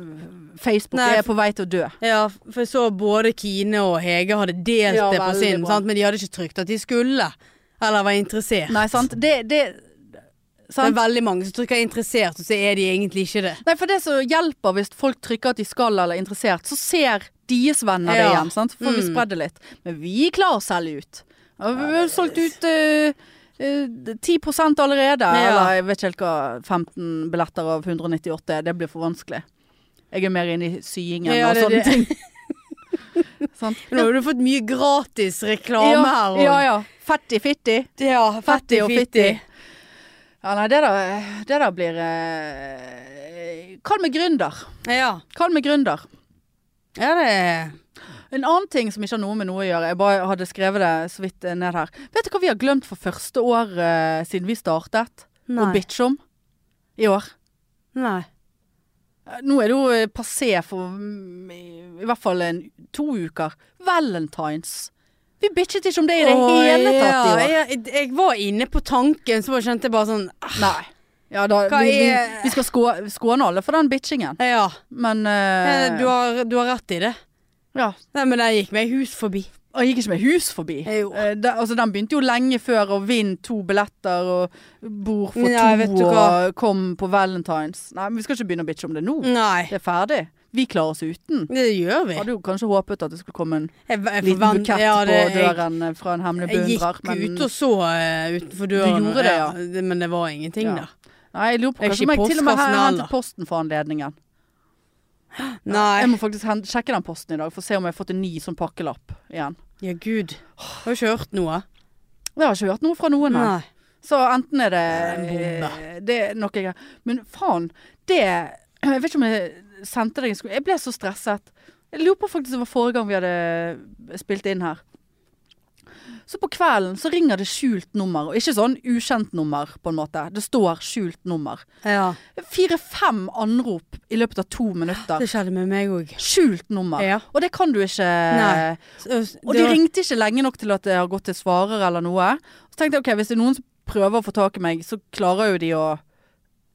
Facebook
Nei,
er på vei til å dø.
Ja, for jeg så både Kine og Hege hadde delt
Ja,
det på
veldig
sin,
bra.
sant? men de hadde ikke trykt at de skulle. Eller var interessert.
Nei, sant? Det, det,
Det er
sant?
veldig mange som trykker 'interessert', og så er de egentlig ikke det.
Nei, for det som hjelper hvis folk trykker at de skal eller er interessert, så ser deres venner det
Ja. Mm.
igjen. Sant? Så får vi spredd det litt. Men vi klarer å selge ut. Ja, Vi har solgt ut øh, øh, 10 allerede.
Ja.
Eller jeg vet ikke helt hva 15 billetter av 198 er. Det blir for vanskelig. Jeg er mer inne i syingen
Ja,
og
det er
sånne ting.
<laughs>
Sant?
Nå har du fått mye gratis reklame her. Og,
ja, ja. Fattig fitti.
Ja, fattig og fitti.
Ja, nei, det der, det der blir eh, Kall meg gründer.
Ja.
Kall meg gründer.
ja, det
En annen ting som ikke har noe med noe å gjøre, jeg bare hadde skrevet det så vidt eh, ned her. Vet du hva vi har glemt for første år eh, siden vi startet? Å
Nei.
bitche om? I år.
Nei.
Eh, Nå er det jo eh, passé for mm, i- i hvert fall en, to uker. Valentines. Vi bitchet ikke om det i det
Å,
hele tatt
ja,
i år.
Jeg, jeg var inne på tanken, så bare kjente jeg bare sånn ah,
Nei. Ja, da,
Hva
vi, vi,
er-
vi skal skå- skåne alle for den bitchingen,
Ja.
men
Eh,
eh,
Du har, du har rett i det.
ja.
Nei, men den gikk meg hus forbi.
Og jeg gikk ikke med hus forbi.
Jo.
Eh, da- altså, den begynte jo lenge før, og vinn to billetter, og bord for
Nei, vet du
to,
hva?
og kom på Valentines. Nei, men vi skal ikke begynne å bitche om det nå.
Nei.
Det er ferdig. Vi klarer oss uten.
Det gjør vi.
Hadde jo kanskje håpet at det skulle komme en
Jeg, Mm. jeg
liten
forvent-
bukett
ja, det-
på døren eh, fra en hemmelig
Jeg, jeg
beundrer.
gikk ut og så eh, utenfor døren.
gjorde det, ja.
det, Men det var ingenting
Ja.
der.
Nei, jeg lurer på
Jeg er
kanskje
ikke
om
i
jeg til og med
postkassen
har
heller.
hentet posten for anledningen. Jeg
Nei.
må faktisk hen- sjekke den posten i dag, for å se om jeg har fått en ny sånn pakkelapp igjen.
Ja, gud. Jeg har ikke hørt noe.
Jeg har ikke hørt noe fra noen her.
Nei.
Så enten er det eh,
en bombe.
Det er noe jeg Men faen, det <clears throat> Jeg vet ikke om jeg sendte deg en sko... Jeg ble så stresset. Jeg lurer på faktisk om det var forrige gang vi hadde eh, spilt inn her. Så på kvelden så ringer det skjult nummer, og ikke sånn ukjent nummer, på en måte. Det står skjult nummer.
Ja.
Fire-fem anrop i løpet av to minutter.
Det skjedde med meg òg.
Skjult nummer.
Ja.
Og det kan du ikke
Nei.
og de ringte ikke lenge nok til at det har gått til svarer eller noe. Så tenkte jeg ok, hvis det er noen som prøver å få tak i meg, så klarer jo de å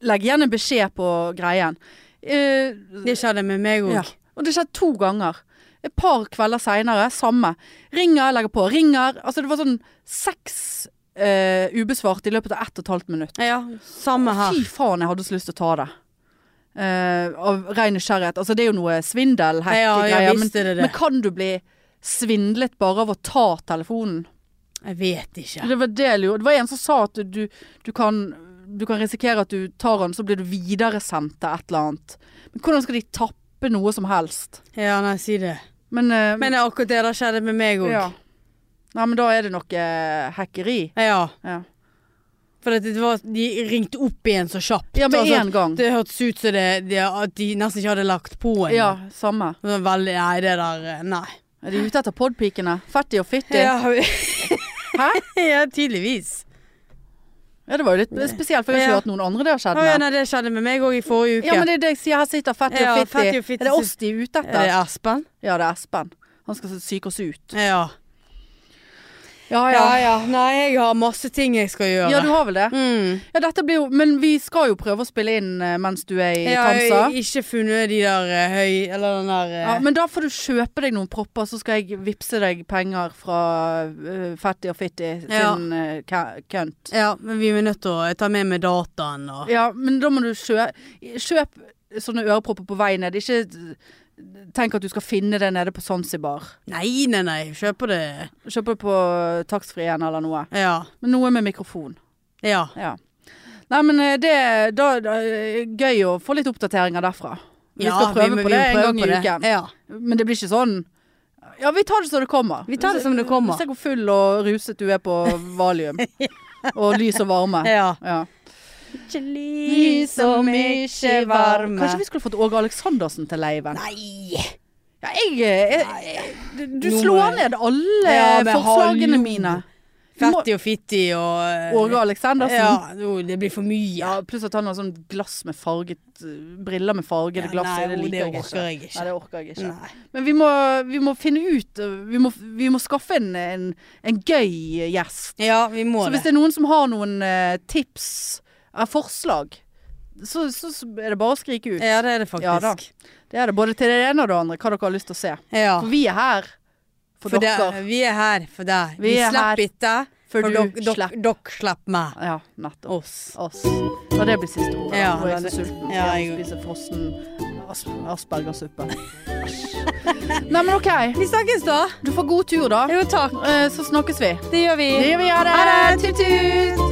legge igjen en beskjed på greien. Eh,
Det skjedde med meg òg.
ja. Og det skjedde to ganger. Et par kvelder seinere, samme. Ringer, legger på, ringer. Altså det var sånn seks eh, ubesvarte i løpet av ett og et halvt minutt.
Ja. Samme her.
Fy faen, jeg hadde så lyst til å ta det. Eh, av ren nysgjerrighet. Altså, det er jo noe svindel,
Ja, ja,
hack-greier.
visst
men,
er det det.
men kan du bli svindlet bare av å ta telefonen?
Jeg vet ikke.
Det var, det, jeg lurer- det var en som sa at du, du, kan, du kan risikere at du tar den, så blir du videresendt til et eller annet. Men hvordan skal de tappe noe som helst?
Ja, nei, si det.
Men, eh,
Men det er akkurat det der skjedde med meg òg.
ja. Nei, men da er det noe hackeri.
Ja.
Ja,
For at det var, de ringte opp igjen så kjapt.
ja med
Altså,
én gang.
det hørtes ut som det, det, at de nesten ikke hadde lagt på en.
Ja, samme.
Det var Veldig, nei, det der eh, Nei.
Er de ute etter podpikene? Fattig og fitti?
Ja,
Hæ?
<laughs> ja tydeligvis.
Ja, det var jo litt spesielt, for jeg har
<laughs> Ja.
ikke hørt noen andre det har skjedd
Å ja,
med.
nei, det skjedde med meg òg i forrige uke.
Ja, men det er det jeg sier. Her sitter Fatty
Ja,
og Fitti.
Fatty og Fitti
Er det
sitter-
oss de er ute
Er
etter?
det Eh, Espen?
Ja, det er Espen. Han skal psyke oss ut.
Ja.
Ja,
ja
ja.
ja. Nei, jeg har masse ting jeg skal gjøre.
Ja, du har vel det?
mm.
Ja, dette blir jo Men vi skal jo prøve å spille inn eh, mens du er i
Jeg har
Tamsa.
ikke funnet de der eh, høy... Eller den der eh,
Ja, men da får du kjøpe deg noen propper, så skal jeg vippse deg penger fra eh, Fatty og Fitti
Ja.
sin eh, ka- kønt.
ja, men vi er nødt til å ta med meg dataen og
Ja, men da må du kjøpe Kjøp sånne ørepropper på vei ned. Ikke Tenk at du skal finne det nede på Zanzibar.
Nei, nei, nei. Kjøper det
Kjøpe på eh, taxfree igjen eller noe.
Ja.
Men noe med mikrofon.
Ja.
Ja. Nei, men eh, det da, da, eh, gøy å få litt oppdateringer derfra. Vi
ja,
skal prøve
må-
på
vi
det
må
en
prøve
gang
på
i
det.
uken.
Ja.
Men det blir ikke sånn Ja, vi tar det som det kommer.
Vi tar det som det kommer.
Se hvor full og ruset du er på
<laughs>
valium. Og lys og varme.
ja.
Ja.
Ikke lys og mye varme.
Kanskje vi skulle fått Åge Aleksandersen til leiven?
Nei!
Ja, jeg, jeg, du du
Nå må
slår
jeg-
ned alle
Ja, men
forslagene
hallo.
mine. Du må-
Fattig og fittig og eh,
Åge Aleksandersen.
Ja, jo, det blir for mye.
Ja, pluss at han har sånn glass med farget Briller med fargede
Ja,
glass i.
nei,
Det
jo,
liker
det
jeg ikke.
orker jeg ikke.
Nei, det orker jeg ikke.
Nei.
Men vi må, vi må finne ut øh, Vi må, vi må skaffe en, en, en gøy gjest.
ja, vi må
Så hvis
det.
det er noen som har noen øh, tips, er forslag, så, så, så er det bare å skrike ut.
Ja, det er det
Ja da.
faktisk.
Det er det både til det ene og det andre, hva dere har lyst til å se.
Ja,
For vi er her for,
for
dere.
det- vi er her for deg.
Vi
Vi,
er
slapp
her
ikke,
for
for
du
dok- dok-
slapp.
dere slapp meg.
Ja, nettopp.
Oss.
Oss. Og det blir siste ordet.
Ja,
Nå er jeg
det-
så sulten.
ja,
jeg
jeg-
må spise frossen as aspergersuppe. Æsj. Nei, men OK.
Vi snakkes da.
Du får god tur, da.
<laughs> Jo, takk.
Eh, Så snakkes vi.
Det gjør vi.
Det gjør vi. Ha det.
Ha det. Tut-tut.